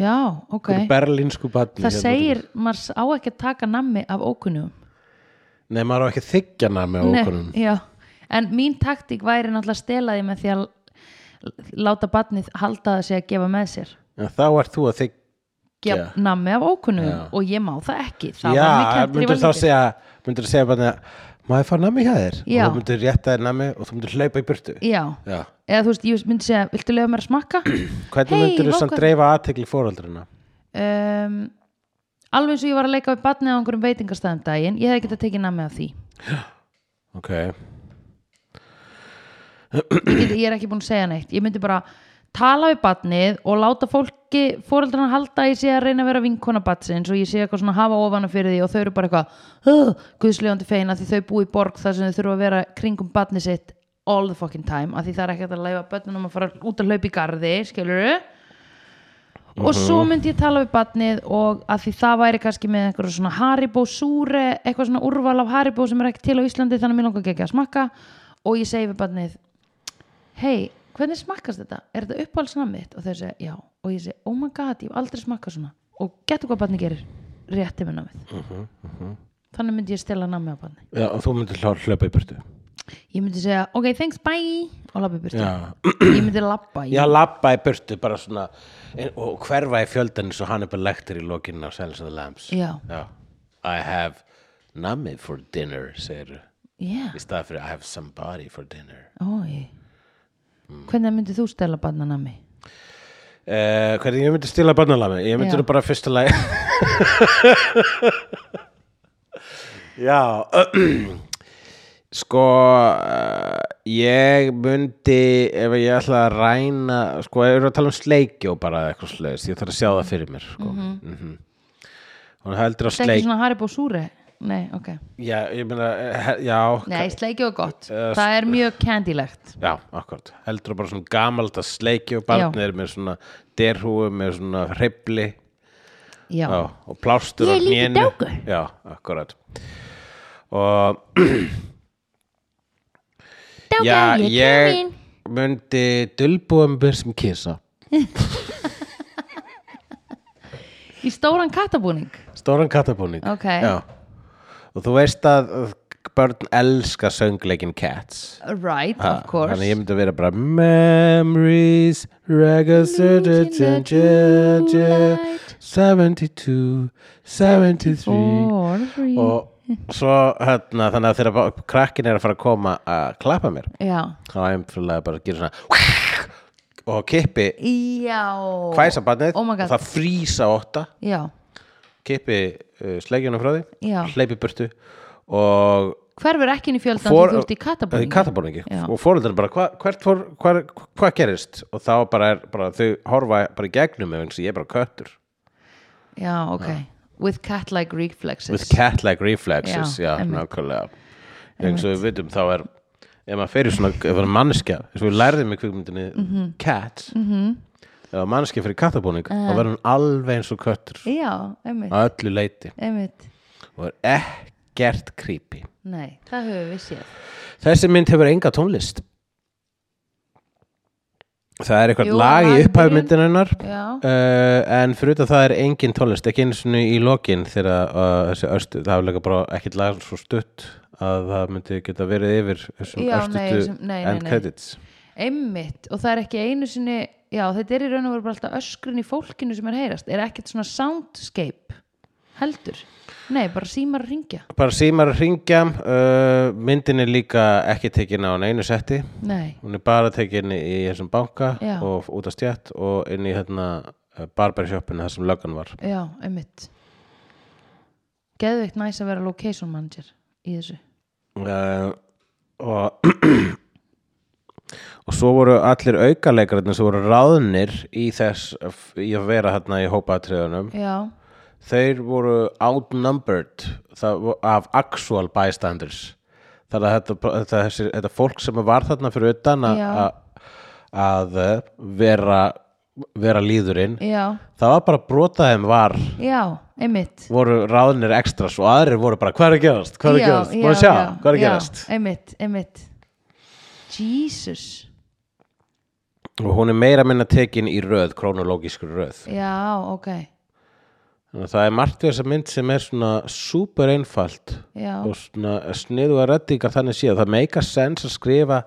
B: Já, ok.
A: hérna Okay. Berlínsku badni.
B: Það segir, maður á ekki að taka nammi af ókunnum.
A: Nei, maður á ekki að þykja hana með
B: Nei,
A: ókunum
B: já. en mín taktík væri náttúrulega að stela því með því að l- láta batnið halda það sig að gefa með sér
A: En þá ert þú að þykja
B: gefa
A: Já.
B: nammi af ókunnum
A: Já.
B: og ég má það ekki það var mér
A: Já,
B: kennt þegar ég
A: myndur
B: var
A: þá
B: lítil.
A: segja myndur segja bara Má ég fá nammi hjá þér?
B: Já.
A: Og þú myndur rétta þér nammi og þú myndur hlaupa í burtu
B: já,
A: Já.
B: eða þú veist, ég myndi segja viltu lega mér að smakka
A: Hvernig
B: Hey,
A: myndur þú
B: vá,
A: samt
B: hvað-
A: dreifa aðtekli fóröldrina?
B: um, alveg eins og ég var að leika við batnið á einhverjum veitingastæðum daginn ég hefði getað tekið nammi af því
A: Ok,
B: ég, get, ég er ekki búin að segja neitt ég myndi bara tala við batnið og láta fólki, fóreldrarna halda að ég sé að reyna að vera vinkona batsins og ég sé eitthvað svona hafa ofana fyrir því og þau eru bara eitthvað "Ugh, guðslegandi feina því þau búi í borg þar sem þau þurfa að vera kringum batnið sitt all the fucking time, af því það er ekkert að leifa börnunum að fara út að hlaupa í garði skilurðu og svo myndi ég tala við batnið og að því það væri kannski með einhverju svona Haribo súre, eitthvað svona úrval af Haribo sem er ekki til á Íslandi þannig að mér langar ekki að smakka og ég segi við batnið hei, hvernig smakkast þetta? Er þetta uppáhaldsnamið þitt? Og þau segja, já. Og ég segi, oh my god, ég hef aldrei smakkað svona. Og getur hvað barni gerir? Rétti með namið.
A: Mhm,
B: Þannig myndi ég stela namið á barni.
A: Já, og þú myndur hlaupa í burtu
B: Ég myndi segja, ok, thanks, bye, og labba í burtu.
A: Já.
B: Ég myndi labba. Ég,
A: Já, labba í burtu bara svona en- og hverfa í fjöldan svo hann er bara lektur í lokinn á Silence of the Lambs
B: Já.
A: I have nammi for dinner segir
B: yeah.
A: í stað fyrir I have somebody for dinner
B: Ói.
A: Mm.
B: Hvernig myndi þú stela barna namið?
A: uh, Hvernig ég myndi stila barnalami? Ég myndi
B: Já.
A: nú bara fyrsta lagi Já Sko eh, ég myndi ef ég ætla að ræna sko, ég er að tala um sleikjó bara eða eitthvað slegist, ég þarf að sjá það fyrir mér sko. mm -hmm. Hún heldur á
B: Þetta er
A: sleik
B: ekki svona Haribo súre? Nei, ok.
A: Já, ég meina, eh, já
B: Nei, sleikju og gott.
A: Eh,
B: Það er mjög candylegt.
A: Já, akkurat, heldur á bara svona gamalt að sleikjó barnir með svona derhúu, með svona hreifli
B: Já.
A: já, og plástur
B: Ég
A: á
B: er lítill
A: hnénu.
B: drákur.
A: já, akkurat og
B: Dáka,
A: já,
B: ég er
A: ég um
B: komin.
A: myndi dulbúum byrð sem kisa
B: Í stóran kattabúning.
A: stóran kattabúning
B: Ok.
A: já. og þú veist að að börn elska söngleikin Cats
B: Right,
A: Ha,
B: of course.
A: þannig ég myndi vera bara memories regazzurdu 72 73
B: Four, three.
A: og svo hérna þannig að þegar bara- krakkin er að fara að koma að klappa mér
B: Já.
A: þá er einfrulega bara að gera svona og kippi
B: Já.
A: hvæsa barnið
B: Oh my
A: og
B: god.
A: það frýsa åtta
B: Já.
A: kippi uh, slegjunum frá því
B: Já.
A: hleypi burtu og
B: Hverfur ekki inn í fjöldan
A: for-
B: því þú ert í katabóningi?
A: Í katabóningi.
B: Já.
A: og fóröldar bara hva, hvert fór, hva, hvað gerist og þá bara er bara, þau horfa bara í gegnum ef eins og ég er bara köttur
B: Já, ok. With cat-like reflexes.
A: Ah. with cat-like reflexes
B: Já,
A: já,
B: einmitt.
A: nákvæmlega eins og við vitum þá er ef maður fyrir svona, ef maður er manneskja eins og við lærðum í kvikmyndinni
B: Mhm.
A: cat ef maður er manneskja fyrir kattabúning
B: Eh.
A: þá verður hún alveg eins og köttur
B: Já, einmitt.
A: að öllu leiti
B: Einmitt.
A: og er ekkert creepy
B: Nei, það höfum við séð.
A: þessi mynd hefur enga tónlist það er eitthvað
B: Jú,
A: lag
B: lag
A: í
B: í
A: upphæðu
B: byrjun.
A: myndininnar
B: Já.
A: Uh, en fyrir þetta það er engin tónlist ekki einu sinni í lokin þegar uh, þessi östu, það hefur líka bara ekkert lag svo stutt að það myndi geta verið yfir þessum
B: Já, nei,
A: östutu
B: þessum- nei, nei,
A: end
B: nei.
A: credits
B: Einmitt. Og það er ekki einu sinni... Já, þetta er í raun og veru bara alltaf öskrin í fólkinu sem er heyrast. Er ekkert svona soundscape heldur. Nei, bara símar að ringja.
A: bara símar að ringja uh, myndin er líka ekki tekin á neinu setti
B: Nei.
A: hún er bara tekin í þessum banka
B: Já.
A: og út af stjætt og inn í hérna uh, barbershopinu þar sem löggan var
B: Já, einmitt. Geðveikt næs að vera location manager í þessu.
A: uh, og og svo voru allir aukaleikarinnir sem voru ráðnir í þess í að vera hérna í hópaatriðunum
B: Já.
A: þeir voru outnumbered það, vo- af actual bystanders þannig að þetta, þetta, þessi, þetta fólk sem var þarna fyrir utan að-
B: Já.
A: að- að eh, vera vera líðurinn
B: Já,
A: það var bara brotaðum var
B: já, einmitt
A: voru ráðnir extras og aðrir voru bara hvað er að gerast, hvað er
B: já,
A: að gerast,
B: já,
A: má sjá
B: já,
A: hvað er að
B: já,
A: gerast
B: Einmitt, einmitt Jesus
A: og hún er meira minna tekin í röð, krónológískur röð
B: Já, ok
A: Þannig að það er margt við þessa mynd sem er svona super einfalt
B: Já.
A: og svona sniðu að reddingar þannig síðan. Það meika sens að skrifa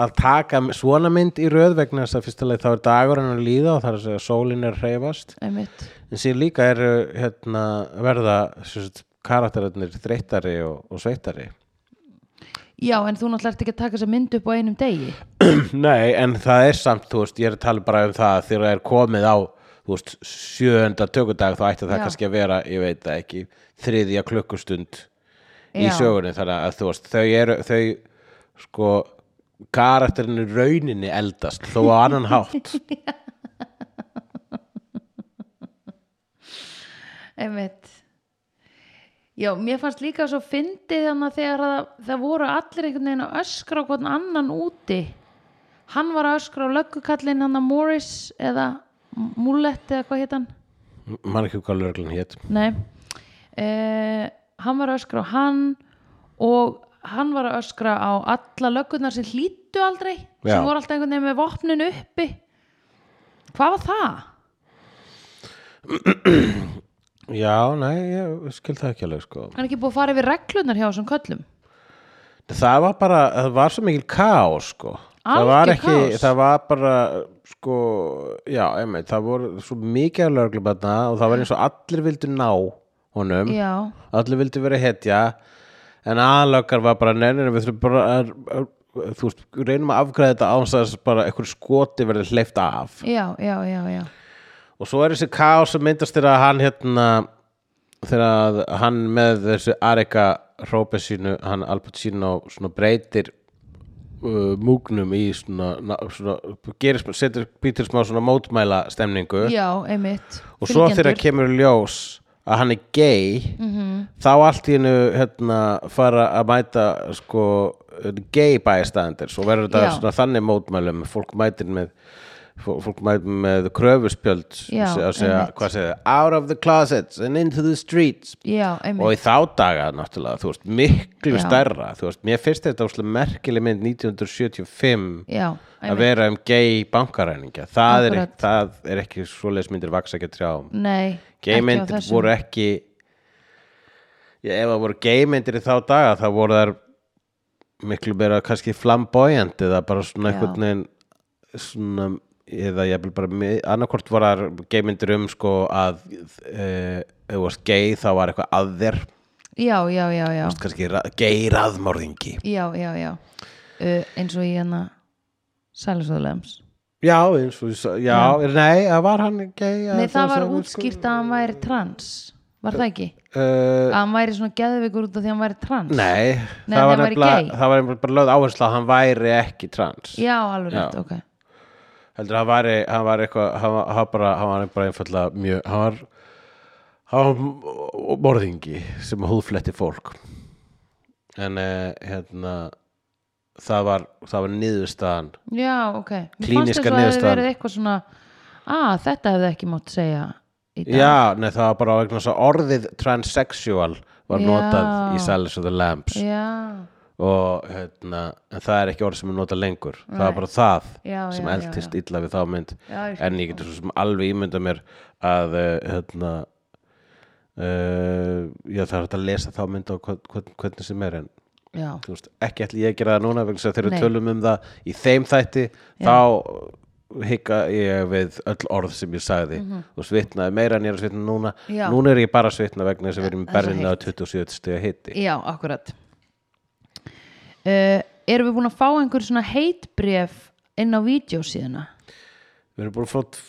A: að taka svona mynd í röð vegna þess að fyrstulega þá er dagurinn að líða og það er að segja að sólin er að hreyfast.
B: einmitt
A: En síðan líka er hérna, verða sem sagt, karakterarnir þreyttari og, og sveittari.
B: Já, en þú náttúrulega ert ekki að taka þessa mynd upp á einum degi
A: Nei, en það er samt, þú veist, ég er að tala bara um það að þegar það er komið á, þú veist, sjöunda tökudag þá ætti það
B: Já.
A: kannski að vera, ég veit það ekki, þriðja klukkustund í
B: Já.
A: sögunni, þannig að þú veist, þau eru, þau, sko, karakterinu rauninni eldast, þó á annan hátt.
B: Einmitt Já, mér fannst líka svo fyndið þannig að þegar það, það voru allir einhvern veginn að öskra á hvern annan úti Hann var að öskra á löggukallinn hann að Morris eða Mullett eða hvað hétt hann?
A: Man ekki hvað löglan hétt.
B: Nei eh, Hann var að öskra á hann og hann var að öskra á alla löggurnar sem hlýttu aldrei
A: Já.
B: sem voru alltaf einhvern veginn með vopnin uppi Hvað var það?
A: Já, nei, ég skil það ekki alveg, sko.
B: Hann er ekki búið að fara yfir reglurnar hjá þessum köllum
A: Það var bara, það var svo mikil kaos sko. Það
B: Algjör
A: var ekki,
B: kaos.
A: það var bara sko, já, einmitt það voru svo mikið af lögreglubarna og það var eins og allir vildu ná honum,
B: Já,
A: allir vildu vera hetja en aðlökar var bara neynir, við þurfum bara að, að, þú veist, reynum að afgræða þetta án þess að bara einhver skoti verið hleyft af
B: já, já, já, já.
A: og svo er þessi kaos sem myndast þegar hann hérna þegar að hann með þessu Arika hrópi sínu, hann Albert sínu svona breytir uh, múgnum í svona, na, svona gerir, smá- setur býtir smá svona mótmæla stemningu
B: Já, einmitt.
A: og svo
B: Fylgjendur.
A: þegar kemur í ljós að hann er gay
B: Mhm.
A: -hmm. þá allt í hennu hérna, fara að mæta sko, gay bæjastandir og verður
B: Já.
A: þetta svona, þannig mótmælum fólk mætir með fó- fólk mætir með kröfuspjöld
B: Já,
A: sem að segja,
B: einmitt.
A: hvað segja, out of the closets and into the streets
B: Já, einmitt.
A: og í þá daga náttúrulega, þú veist, miklu
B: Já.
A: stærra þú veist, mér finnst þetta óslega merkileg mynd 1975
B: Já,
A: að
B: einmitt.
A: vera um gay bankaræningja það, er,
B: Akkurat.
A: það er ekki svoleiðis myndir vaks ekki að trjáum
B: Nei,
A: gay
B: ekki á
A: myndir
B: þessum.
A: voru ekki já, ef það voru gay myndir í þá daga þá voru þær miklu meira kannski flamboyant eða bara svona
B: Já.
A: einhvern veginn svona eða ég vil bara annarkvort voru þær gay myndir um sko að e, ef þú varst gay þá var eitthvað að þér
B: Já, já, já, já.
A: kannski ra gay raðmörðingi
B: Já, já, já. Uh, eins og í hérna Sælusóðulems.
A: já, eins og ég sa- já, nei, að var hann gay að
B: Nei, það var
A: sagði, sko,
B: útskýrt að hann væri trans. Var það ekki?
A: eh,
B: Að hann væri svona geðveikur út af því að hann væri trans.
A: Nei,
B: Nei,
A: það,
B: hann
A: var
B: væri
A: nefnilega,
B: gay.
A: það var nefnilega bara lögð áhersla að hann væri ekki trans
B: Já, alveg rétt,
A: Já.
B: ok.
A: heldur hann væri, hann væri eitthvað hann, var- hann, bara, hann var bara einfallega mjög hann var, hann var morðingi sem húðfletti fólk en eh, hérna það var, það var niðurstaðan
B: Já, ok. Mér fannst
A: Klíníska
B: eins og að hefði
A: niðurstaðan.
B: verið eitthvað svona, að þetta hefði ekki mátt segja í dag.
A: Já, nei, það var bara vegna þess að orðið transsexual var
B: Já.
A: notað í Silence of the Lambs
B: Já,
A: og hérna, en það er ekki orð sem er notað lengur það er bara það
B: Já,
A: sem
B: já, já,
A: eldist illa við þá mynd
B: Já, ég skil
A: en ég getur svo sem alveg ímynda mér að uh, hérna uh, já það er hægt að lesa þá mynd á hvern, hvern, hvernig sem er en
B: já.
A: þú veist, ekki ætli ég að gera það núna vegna þess að þegar
B: Nei.
A: við tölum um það í þeim þætti þá hika ég við öll orð sem ég sagði og svitnaði meira en ég er að svitna núna
B: Mhm. Já.
A: núna er ég bara að svitna vegna þess að við erum
B: Það er svo
A: berðinu á 27 stiga hitti
B: Já, akkurat uh, Erum við búin að fá einhver svona heitbréf inn á vídeosíðuna?
A: við erum búin að fótt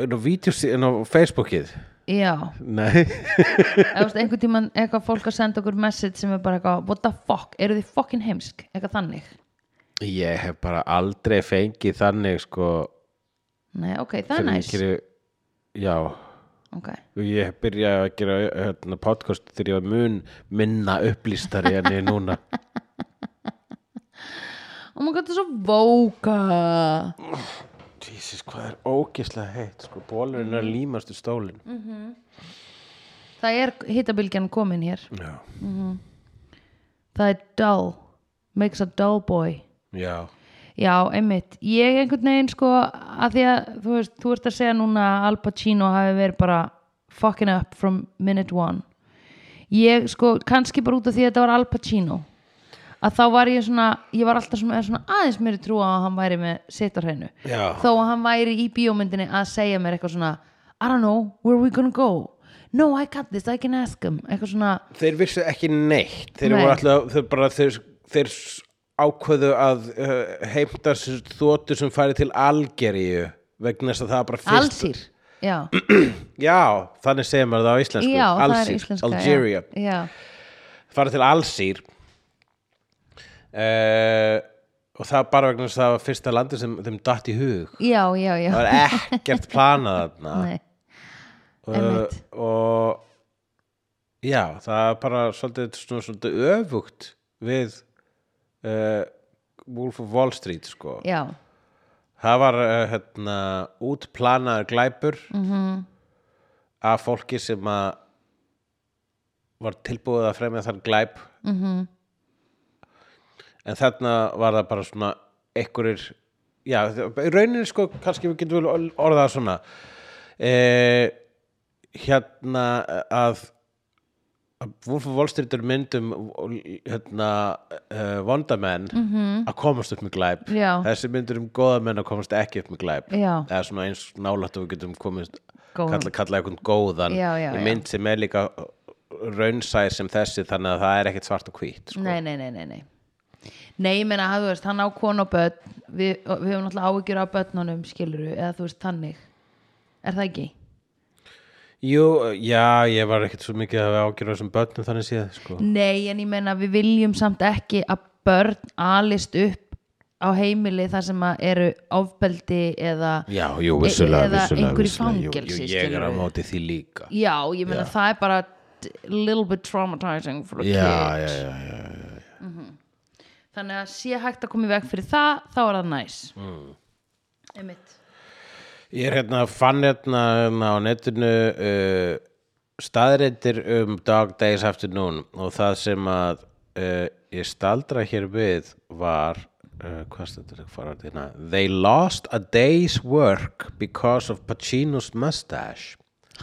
A: inn á vídeos inn á Facebookið
B: Já,
A: nei,
B: eða veist, einhvern tímann eitthvað fólk að senda okkur message sem er bara eitthvað, what the fuck, eru þið fucking heimsk? Eitthvað þannig?
A: ég hef bara aldrei fengið þannig sko
B: Nei, ok, það er
A: þegar ég
B: næs
A: geri, já
B: Ok,
A: og ég byrjaði að gera hérna, podcast þegar ég var mun minna upplýstari en ég er núna
B: og maður gæti svo vóka
A: Jesus, hvað er ógislega heitt sko, bólurinn er að límast í stólinn
B: Það er hittabilgjan komin hér
A: já,
B: Það er dull, makes a dull boy
A: já,
B: Já, einmitt. Ég einhvern veginn sko að því að þú veist, þú ert að segja núna að Al Pacino hafi verið bara fucking up from minute one ég sko, kannski bara út af því að þetta var Al Pacino að þá var ég svona, ég var alltaf svona, svona aðeins mér trú á að hann væri með sitt á hreinu
A: Já.
B: þó að hann væri í bíómyndinni að segja mér eitthvað svona I don't know, where we gonna go no, I got this, I can ask him eitthvað svona,
A: þeir vissu ekki neitt þeir
B: Nei.
A: voru alltaf, þeir bara þeir, þeir s- ákveðu að uh, heimta sér þóttu sem færi til Algeríu vegna þess að það var bara fyrst
B: allsýr já,
A: já, þannig segir maður það á íslensku
B: já, það er
A: Alsír,
B: íslenska
A: Algeria,
B: já, já.
A: fara til Alsýr uh, og það var bara vegna þess að það var fyrsta landi sem þeim datt í hug
B: já, já, já
A: það var ekkert planað þarna
B: Nei,
A: uh,
B: einmitt.
A: og já, það er bara svolítið, svona, svolítið öfugt við uh, Wolf of Wall Street sko.
B: já,
A: það var uh, hérna, útplanaður glæpur -hmm. af fólki sem að var tilbúið að fremja þar glæp mm en þarna var það bara svona einhverjir já, í rauninni sko kannski við getum vel orðað það svona eh, hérna að að Wolf of Wall Street er myndum hérna, uh, vondamenn -hmm. að komast upp með glæp
B: Já.
A: þessi myndir um góða menn að komast ekki upp með glæp
B: Já.
A: eða svona eins nálætt og við getum komist
B: Góðan.
A: kalla, kalla eitthvað góðan
B: Já, já,
A: Í
B: já.
A: mynd sem er líka raunsæð sem þessi þannig að það er ekkert svart og hvít sko.
B: nei, nei, nei, nei, nei Nei, ég meina, hafðu veist, hann á konu og börn við, og við höfum náttúrulega áhyggjur af börnunum skiluru, eða þú veist, þannig Er það ekki?
A: Jú, já, ég var ekkert svo mikið að ágjöra þessum börnum þannig séð sko.
B: Nei, en ég meina, við viljum samt ekki að börn alist upp á heimili þar sem að eru ofbeldi eða
A: Já, jú, vissulega,
B: eða
A: vissulega,
B: einhver
A: vissulega
B: í
A: jú,
B: fangelsi,
A: jú, Ég er á
B: skilurðu.
A: móti því líka
B: Já, ég meina, það er bara t- little bit traumatizing for a
A: Já,
B: kid
A: já, já, já, já.
B: þannig að sé hægt að koma í veg fyrir það þá er það næs mm. einmitt
A: Ég er hérna, fann hérna, hérna á netinu uh, staðreindir um Dog Days Afternoon og það sem að uh, ég staldra hér við var uh, hvað stendur ekki fara hérna They lost a day's work because of Pacino's mustache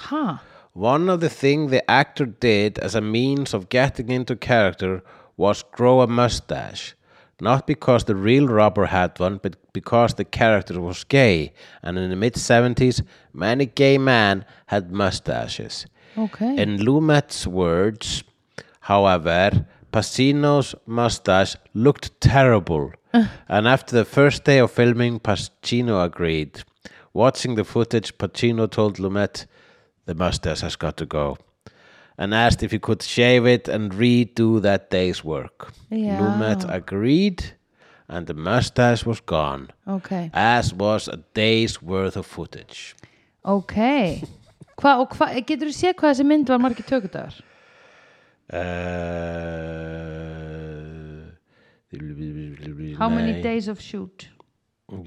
B: ha,
A: One of the things the actor did as a means of getting into character was grow a mustache. Not because the real robber had one, but because the character was gay. And in the mid 70s, many gay men had mustaches.
B: ok
A: In Lumet's words, however, Pacino's mustache looked terrible. and after the first day of filming, Pacino agreed. Watching the footage, Pacino told Lumet, The mustache has got to go. And asked if he could shave it and redo that day's work.
B: Yeah.
A: Lumet agreed, and the mustache was gone,
B: ok,
A: as was a day's worth of footage.
B: ok hva, og hva, getur þú séð hvað þessi mynd var margir tökudagar
A: Eh, Uh,
B: how many days of shoot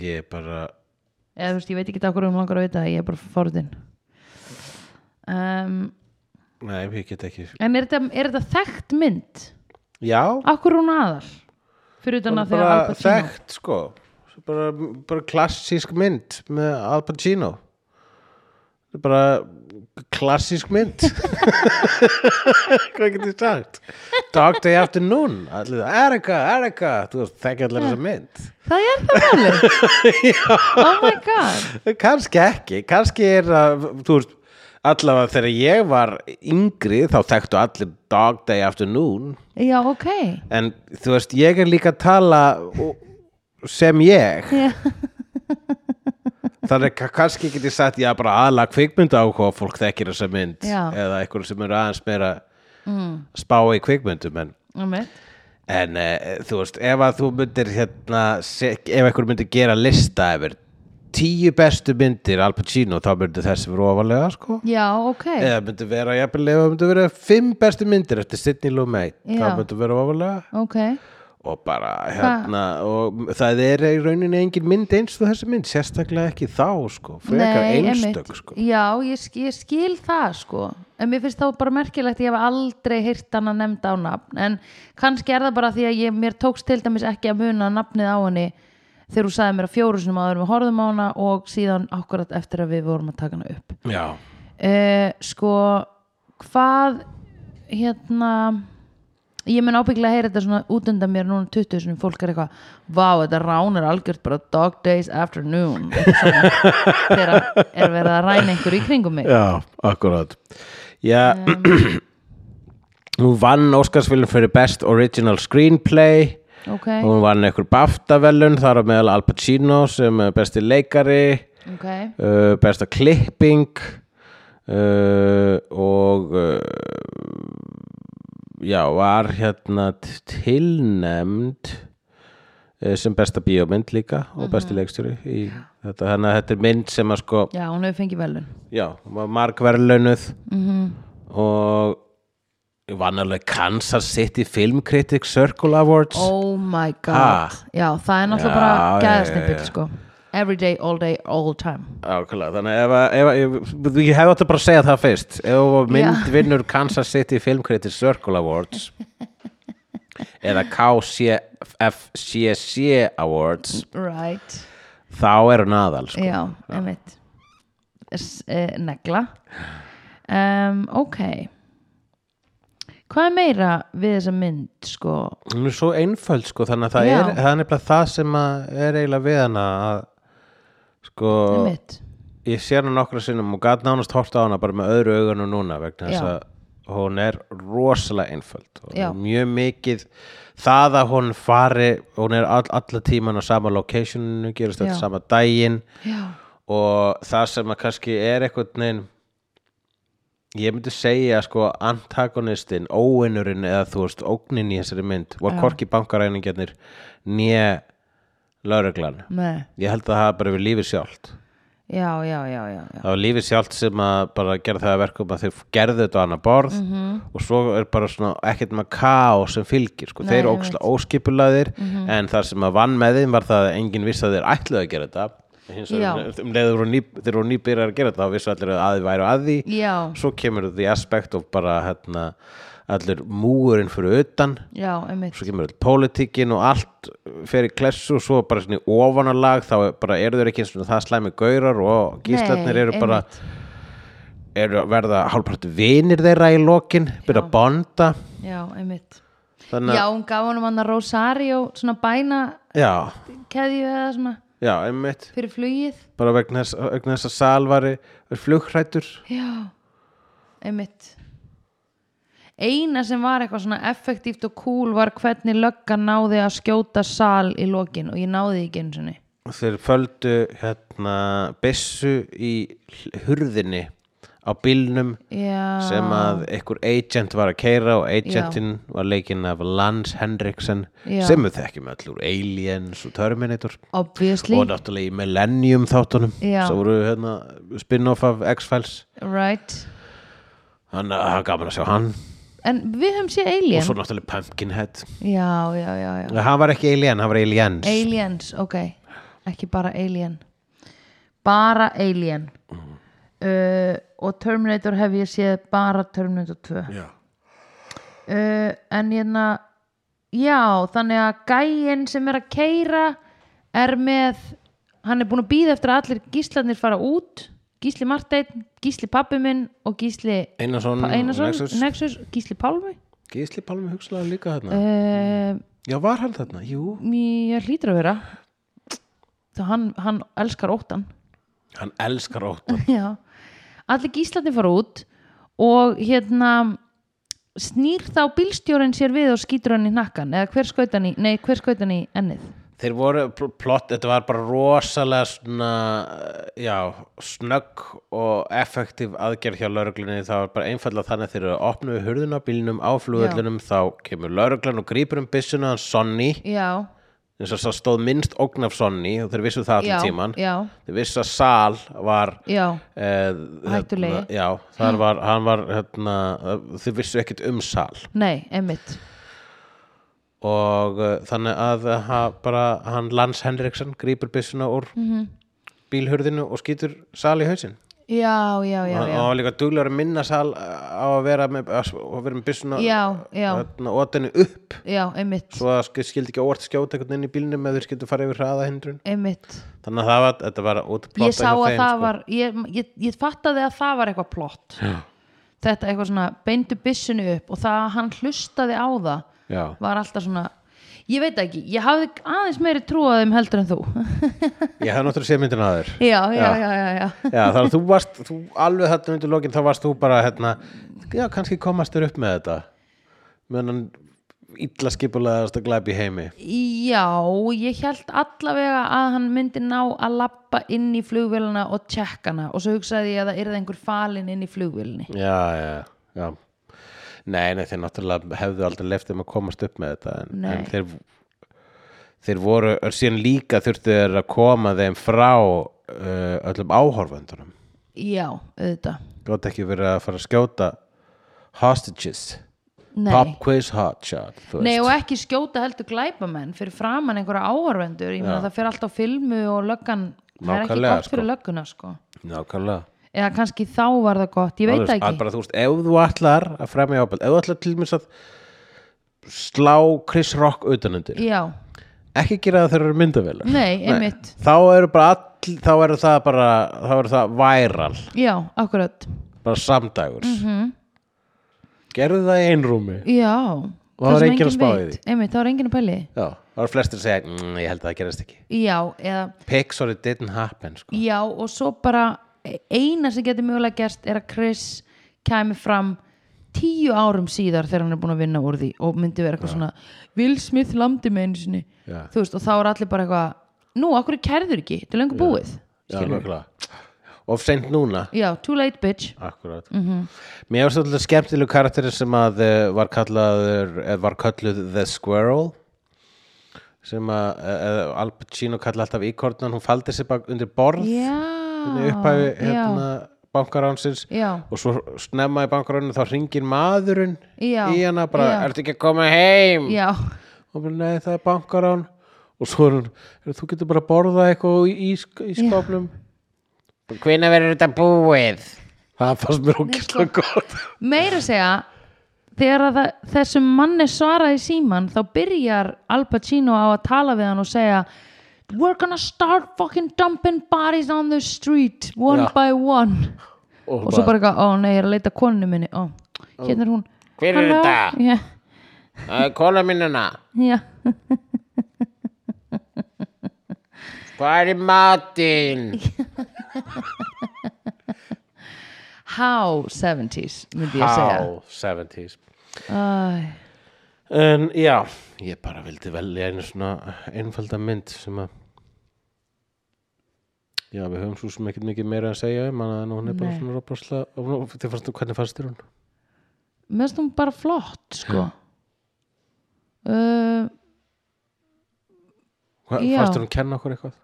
A: Ég bara
B: eða þú veist, ég veit ekki það hverjum langar að vita það, ég er bara forðin um,
A: Nei, ég get ekki
B: en er þetta, er þetta þekkt mynd?
A: Já,
B: akkur hún aðal? fyrir utan að þegar Al
A: bara
B: Pacino
A: þekkt sko bara, bara klassísk mynd með Al Pacino bara klassísk mynd Hvað getur sagt? Dog Day Afternoon allir, Erika, Erika, þú veist, þekki allir þessa mynd
B: það er það málið oh my god
A: kannski ekki, kannski er að þú veist, allavega þegar ég var yngri þá þekktu allir Dog Day Afternoon
B: já, ok
A: en þú veist, ég er líka að tala og- sem ég
B: Já.
A: þannig ka- kannski get ég sagt já bara aðla kvikmynda áhuga fólk þekkir þessa mynd
B: Já.
A: eða einhverjum sem eru aðeins meira mm. spá í kvikmyndum en
B: einmitt
A: En uh, þú veist, ef að þú myndir hérna, se- ef einhver myndir gera lista yfir tíu bestu myndir Al Pacino, þá myndir þessi vera ofalega, sko.
B: Já, ok,
A: Eða myndir vera, jafnvel, ef það myndir vera fimm bestu myndir eftir Sidney Lumet, þá
B: Já.
A: myndir vera ofalega.
B: ok
A: Og bara, hérna, og það er í rauninni engin mynd eins og þessi mynd, sérstaklega ekki þá, sko. Frekar
B: Nei, einmitt.
A: einstök, sko.
B: Já, ég, sk- ég skil það sko En mér finnst þá bara merkilegt að Ég hef aldrei heyrt hann að nefnda á nafn En kannski er það bara því að ég, mér tókst til dæmis ekki að muna nafnið á henni Þegar hún sagði mér að fjóru sinum áður en Við horfðum á hana og síðan akkurat eftir að við vorum að taka hana upp
A: Já.
B: uh, sko hvað hérna ég mun ábyggilega heyra þetta svona út undan mér núna 20 sinni fólk er eitthvað vá, þetta rán er algjört bara dog days afternoon eitthvað svona. þegar er verið að ræna einhver í kringum mig
A: Já, akkurat Já Nú vann Óskarsfilm fyrir Best Original Screenplay
B: ok,
A: og hún vann einhver BAFTA-velun þar á meðal Al Pacino sem er besti leikari
B: ok
A: uh, besta klipping uh, og uh, já, var hérna t- tilnefnd uh, sem besta bíómynd líka og besti leikstjóri í þetta, þannig að þetta er mynd sem að sko
B: já, hún hefur fengið velun
A: já, hún var margverðlaunuð og vann alveg Kansas City Film Critics Circle Awards
B: oh my god,
A: Ha?
B: já, það er náttúrulega
A: Já, já,
B: bara
A: já,
B: gæðasnippið sko every day, all day, all time
A: Ákvæmlega, þannig ef, að- ef, að- ef, ég hefði átt að bara að segja það fyrst ef að mynd vinnur Kansas City Film Critics Circle Awards eða KCFCC Awards
B: right,
A: þá er hún aðal sko.
B: já, einmitt S- eh, negla um, ok hvað er meira við þessa mynd sko
A: hún er svo einföld sko, þannig að það
B: Já.
A: er, það er nefnilega það sem að er eiginlega við hana að sko
B: einmitt,
A: ég sé hana nokkra sinnum og gæt nánast hort á hana bara með öðru augunum núna vegna þess
B: Já.
A: að hún er rosalega einföld og
B: Já.
A: mjög mikið það að hún fari hún er all, alla tíman á sama locationinu gerist þetta
B: Já.
A: sama daginn
B: já,
A: og það sem að kannski er eitthvað neginn ég myndi segja sko antagonistinn, óinurinn eða þú veist ógnin í þessari mynd var korki bankaræningjarnir né lauruglan
B: með
A: ég held að það hafa bara við lífið sjálft
B: já, já, já, já, já.
A: það var lífið sjálft sem að bara gera það að verkum að þeir gerðu þetta á annað borð
B: Mhm.
A: og svo er bara svona ekkert með kaos sem fylgir, sko,
B: Nei, Mhm.
A: þeir eru
B: ég
A: óksla óskipulaðir en það sem að vann með þeim var það að enginn vissi að þeir ætluðu að gera þetta hins vegar um leiður og ný, þeir voru nýbyrjar að gera þetta þá vissu allir að aði væri að því
B: já,
A: svo kemur því aspekt og bara hérna, allir múurinn fyrir utan
B: já, einmitt
A: svo kemur öll pólitíkin og allt fer í klessu og svo bara svona í ofanalag þá er- bara eru þeir ekki eins og það slæmi gaurar og gíslarnir
B: Nei,
A: eru bara
B: einmitt.
A: eru að verða hálfpart vinir þeirra í lokin, byrja að bonda
B: já, einmitt
A: þannig
B: já,
A: að,
B: hún gaf honum hann að Rosario svona bæna
A: já,
B: keðju eða svona
A: já, einmitt
B: fyrir flugið
A: bara vegna þess, vegna þess að salvari er flugrættur
B: Já, einmitt Eina sem var eitthvað svona effektíft og cool var hvernig löggan náði að skjóta sal í lokin og ég náði því ekki einu sinni
A: þeir földu hérna byssu í hl- hurðinni á bílnum
B: Já,
A: sem að einhver agent var að keira og agentinn var leikinn af Lance Henriksen
B: Já.
A: sem við þekkjum öll úr Aliens og Terminator
B: obviously,
A: og náttúrulega í Millennium þáttunum
B: Já.
A: sem voru hérna, spin-off af X-Files
B: right
A: þannig að það er ah, gaman að sjá hann
B: En við höfum séð
A: og
B: Alien
A: svo náttúrulega Pumpkinhead
B: Já, já, já, já
A: Nei, hann var ekki Alien, hann var Aliens
B: Aliens, ok Ekki bara Alien Bara Alien
A: Mm.
B: uh, Og Terminator hef ég séð bara Terminator 2
A: Já.
B: uh, En hérna Já, þannig að gæinn sem er að keira er með hann er búin að býða eftir að allir gíslarnir fara út Gísli Marteinn, Gísli pappi minn og Gísli
A: Einarsson,
B: Einarsson,
A: Mm, Nexus,
B: Nexus, Gísli Pálmi
A: Gísli Palmi hugslaði líka þarna
B: uh,
A: Já, var hann þarna? Jú
B: Mér hlýtur að vera þá hann, hann elskar óttan
A: Hann elskar óttan
B: Já, allir gíslarnir fara út og hérna snýr þá bílstjórinn sér við og skýtur hann í nakkan eða hver skaut hann í, nei hver skaut hann í ennið
A: Þeir voru pl- plott, þetta var bara rosalega svona, eh, já, snögg og effektiv aðgerð hjá lauruglunni það var bara einfallega þannig að þeir eru að opnuðu hurðuna á bílnum á flugöllunum þá kemur lauruglan og grípur um byssuna hans Sonny,
B: Já,
A: eins og það stóð minnst ógn af Sonny og þeir vissu það
B: já,
A: allir tíman
B: já,
A: þeir vissu að Sal var
B: já
A: Eh,
B: Hættulegi.
A: hérna, já, þar var, hann var hérna, þau vissu ekkert um sal
B: nei, einmitt
A: og uh, þannig að ha, bara
B: Mhm.
A: hann Lance Henriksen grípur byssuna úr bílhurðinu og skýtur sal í hausinn
B: já, já, já,
A: og
B: já.
A: hann var líka duglegur að minna sal eh, á að vera með, að vera með byssuna
B: Já, já.
A: þarna, otinni upp
B: já, einmitt
A: svo að sk- skildi ekki óvart skjóta einhvern inn í bílnum eða þeir skildu fara yfir hraðahindrun
B: einmitt
A: þannig að það var, þetta var útplotta
B: ég sá að það
A: sko.
B: var ég, ég, ég fattaði að það var eitthvað plott já. þetta eitthvað svona beindu byssinu upp og það að hann hlustaði á það
A: já.
B: var alltaf svona ég veit ekki, ég hafði aðeins meiri trú á þeim heldur en þú
A: ég hafði náttúrulega séð myndina aður
B: já, já,
A: Já.
B: já, já, já.
A: já, þannig að þú varst þú, alveg þetta undir lokin, þá varst þú bara hérna, já, kannski komast þér upp með þetta meðan hann illa skipulegast að glæpi heimi
B: Já, ég held allavega að hann myndi ná að lappa inn í flugvélina og tjekka hana og svo hugsaði ég að það yrði einhver falin inn í flugvélinni
A: já, já, já nei, nei, þeir náttúrulega hefðu aldrei left þeim að komast upp með þetta en,
B: Nei.
A: en þeir, þeir voru síðan líka þurftu þeir að koma þeim frá uh, öllum áhorfundunum
B: Já, auðvitað
A: gott ekki verið að fara að skjóta hostages
B: Nei,
A: pop quiz hotshot þú
B: Nei
A: veist.
B: og ekki skjóta heldur glæpamenn fyrir framan einhverja áhörvendur ég meina það fyrir allt á filmu og löggan það er ekki
A: Nákvæmlega,
B: gott fyrir
A: sko.
B: lögguna sko
A: nákvæmlega
B: eða kannski þá var það gott, ég veit það
A: Alveg,
B: ekki
A: bara, þú veist, ef þú ætlar að fremja ábæld ef þú ætlar til mér að slá Chris Rock utanundir
B: Já,
A: ekki gera það þegar eru myndavélar
B: nei, einmitt
A: þá eru bara all, þá eru það bara þá eru það væral,
B: Já, akkurat
A: bara samdægurs
B: Mhm.
A: gerðu það í einrúmi
B: Já,
A: var
B: sem
A: enginn að spá í
B: veit. Einmitt, það var enginn að pæli því.
A: já, þá eru flestir að segja mmm, ég held að það gerist ekki
B: Já, eða
A: pick sorry didn't happen sko.
B: Já, og svo bara e, eina sem getur mögulega gerst er að Chris kæmi fram tíu árum síðar þegar hann er búin að vinna úr því og myndi vera eitthvað svona Will Smith landi með einu sinni
A: Já.
B: þú veist, og þá er allir bara eitthvað nú, akkur kærður ekki, þetta er lengur búið
A: já,
B: Skilurðu?
A: nákvæmlega. of seint núna
B: já, too late bitch
A: Akkurat.
B: Mhm.
A: Mér varst alltaf skemmtilegu karakterin sem að eh, var kallaður, eða var kalluð The Squirrel sem að eh, eh, Al Pacino kallaði alltaf íkornan, hún faldi sér bara undir borð í
B: já,
A: upphæfi
B: já,
A: hérna, bankaránsins
B: já,
A: og svo snemma í bankaráninu þá ringir maðurinn
B: Já,
A: í hana bara,
B: já.
A: ertu ekki að koma heim?
B: já
A: Og bara, nei, það er bankarán og svo er hún, "Heyrðu, þú getur bara að borða eitthvað í, í, sk- í skóflum Hvenær verður þetta búið? Það fannst
B: sko.
A: mér ókvæmlega gott
B: meira að segja þegar að það- þessum manni svaraði síman þá byrjar Al Pacino á að tala við hann og segja we're gonna start fucking dumping bodies on the street one
A: Já.
B: by one og svo bara eitthvað, ó nei, ég er að leita að konunni minni ó, hérna er hún
A: Hver er
B: Halló?
A: þetta?
B: Já,
A: uh, Kóla minnuna,
B: já,
A: hvað er í matinn?
B: how 70s myndi ég segja
A: Á, 70s
B: Æ,
A: En já, ég bara vildi velja einu svona einfalda mynd sem að Já, við höfum svo sem ekkert mikið meira að segja um hana en hún er bara
B: Nei.
A: svona roparsla Þið fannst þú hvernig fannst þér hún?
B: mér finnst hún bara flott sko uh,
A: Hvað,
B: Já.
A: fannst þér hún kenna okkur eitthvað?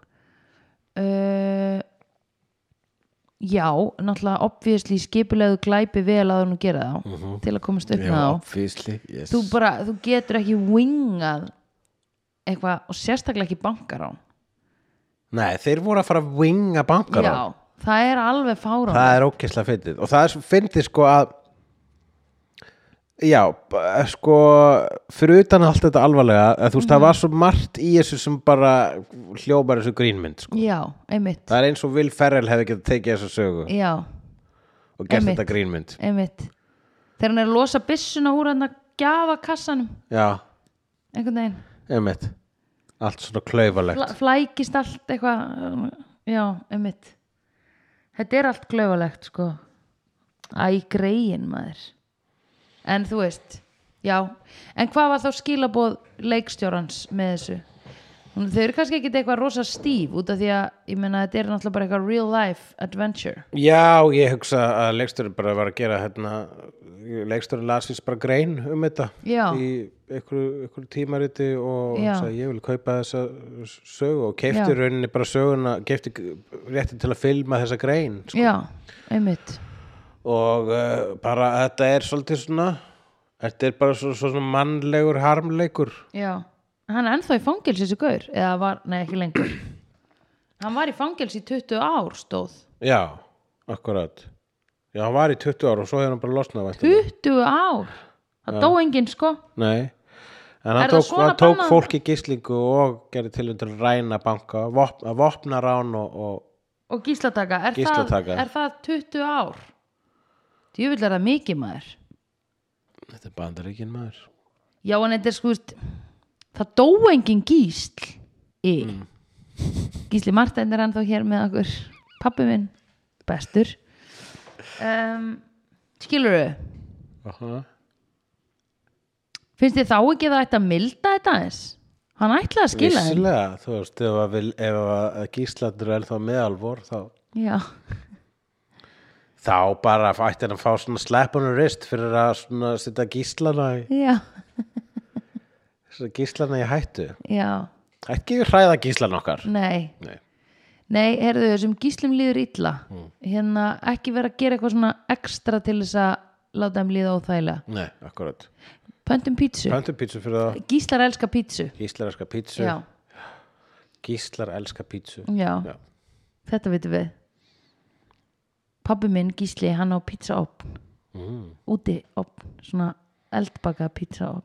B: uh, já, náttúrulega obviously skipulegu glæpi vel að hún gera þá
A: Mhm.
B: til að komast upp með þá
A: físli, yes
B: þú, bara, þú getur ekki wingað eitthvað og sérstaklega ekki bankar á
A: Nei, þeir voru að fara að winga bankar
B: já, það er alveg fárán
A: það er ókesslega fyndið og það er svo fyndið sko að já, b- sko fyrir utan allt þetta alvarlega að þú veist,
B: Mhm.
A: það var svo margt í þessu sem bara hljópar þessu grínmynd sko.
B: já, einmitt
A: það er eins og Will Ferrell hefði getað tekið þessu sögu
B: já,
A: og gert
B: einmitt.
A: þetta grínmynd
B: einmitt þegar hann er að losa byssuna úr hann að gjafa kassanum
A: já,
B: einhvern veginn,
A: einmitt allt svona klaufalegt
B: Fla, flækist allt eitthvað já, einmitt þetta er allt glauvalegt sko æ, greiðin maður en þú veist já, en hvað var þá skilabóð leikstjórans með þessu Hún- þau eru kannski ekki eitthvað rosa stíf út af því að, ég meina, þetta er náttúrulega bara eitthvað real life adventure
A: Já, ég hugsa að leiksturinn bara var að gera hérna, leiksturinn lasist bara grein um þetta
B: Já.
A: í einhverju, einhverju tímariti og
B: Já.
A: sagði, ég vil kaupa þessa sögu og
B: Já.
A: keifti rauninni bara söguna, keifti rétti til að filma þessa grein sko.
B: já, einmitt
A: og uh, bara þetta er svolítið svona, þetta er bara svo, svona mannlegur harmleikur.
B: já, hann er ennþá í fangelsi þessi gaur, eða var, nei ekki lengur hann var í fangelsi í 20 ár stóð
A: Já, akkurat já, hann var í 20 ára og svo hefur hann bara losnað væntanlega.
B: 20 ár það dó enginn sko
A: Nei En
B: Er
A: hann
B: það
A: tók,
B: svona
A: hann tók
B: bannað?
A: fólk í gíslingu og gerði tilhund til að ræna banka, vop, að vopna rán og, og
B: og gíslataka, er,
A: Gíslataka.
B: Það, er það 20 ár djúvill er það mikið maður
A: Þetta er bandaríkin maður.
B: já en þetta er sko veist, það dó enginn gísl í gísli Martein er ennþá hér með okkur pappi minn, bestur um, skilur
A: Aha.
B: finnst þið þá ekki að það ætti að milda þetta aðeins hann ætlaði að skila þeim
A: Vissilega, þú veist, ef að, vil, ef að gíslandur er þá meðalvor, þá,
B: já,
A: þá bara ætti hann að fá svona slap on the wrist fyrir að svona setja gíslana, í-
B: já,
A: setja gíslana í hættu.
B: já
A: Ekki hræða gíslan okkar.
B: nei,
A: Nei. Mm.
B: Nei, heyrðu, þessum gíslum líður illa hérna ekki vera að gera eitthvað svona ekstra til þess að láta þeim líða óþægilega
A: Nei, akkurat.
B: pöntum pítsu,
A: Pöntum pítsu fyrir það.
B: gíslar elska pítsu
A: Gíslar elska pítsu.
B: já,
A: Gíslar elska pítsu.
B: já,
A: Já.
B: þetta vitum við pabbi minn gísli hann á pítsaopn
A: Mm.
B: úti opn, svona eldbaka pítsaopn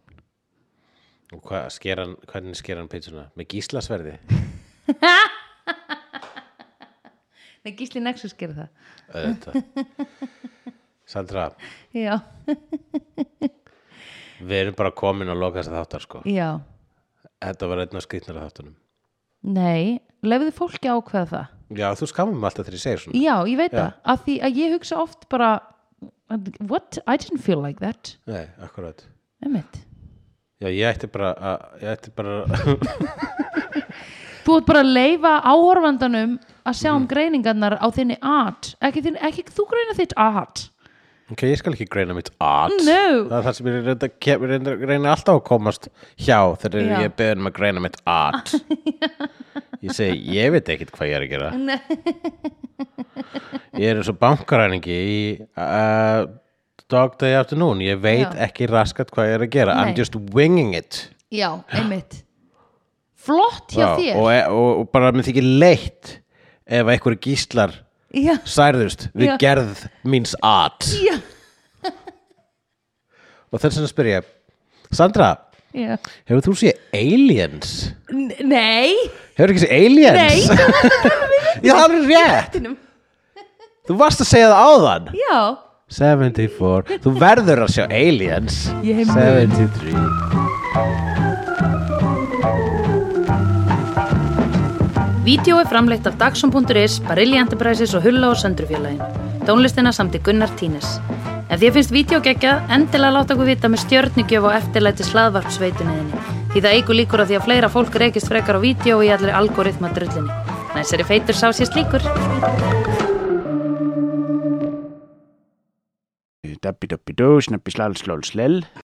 A: Og hvað sker hann, hvernig sker hann pítsuna? Með gíslasverði?
B: nei, gísli nexus gera það
A: Auðvitað. Sandra,
B: já,
A: við erum bara komin að loka þess að þáttar sko.
B: já,
A: Þetta var einn af skrýtnar að þáttunum.
B: nei lefðu fólki að ákveða það
A: Já, þú skamum mig alltaf þegar ég segir svona.
B: já, ég veit það, af því að ég hugsa oft bara what, I didn't feel like that
A: Nei, akkurat.
B: Einmitt.
A: Já, ég ætti bara að, ég ætti bara,
B: Þú ert bara að leifa áhorfandanum að sjá um greiningarnar á þinni art ekki, þinn, ekki þú greina þitt art
A: ok, ég skal ekki greina mitt art.
B: No.
A: Það er það sem ég reynda, kem, reynda, reyna alltaf að komast hjá þegar
B: Já.
A: ég er beðin um að greina mitt art. ég segi, ég veit ekkit hvað ég er að gera.
B: Nei.
A: Ég er eins og bankaræningi í uh, Dog Day Afternoon Ég veit
B: Já.
A: ekki raskat hvað ég er að gera
B: Nei.
A: I'm just winging it
B: Já, einmitt Flott hjá
A: Já,
B: þér
A: og, e, og, og bara mér þykir leitt ef einhverju gíslar
B: Já,
A: særðust við
B: Já.
A: gerð míns at
B: já,
A: og þess vegna spyr ég Sandra,
B: já.
A: hefur þú séð Aliens?
B: N- Nei,
A: Hefur ekki séð Aliens?
B: Nei.
A: Já, það er rétt
B: þínum
A: Þú varst að segja það áðan
B: Já,
A: 74, þú verður að sjá Aliens
B: Ég mun.
A: 73
C: Vídeó er framleitt af Dagsum.is, Barilli Enterprises og Hulla og Söndrufjörlægin. Tónlistina samt í Gunnar Tínes. Ef þér finnst vídeo geggjað, endilega láta okkur vita með stjörnigjöf og eftirlæti slaðvarpsveitunniðinni. Því það eigur líkur að því að fleira fólk reykist frekar á vídeo í allir algoritma drullinni. Næsari feitur sá sér slíkur.
D: Dabbi dabbi dó, snabbi slal slól slell.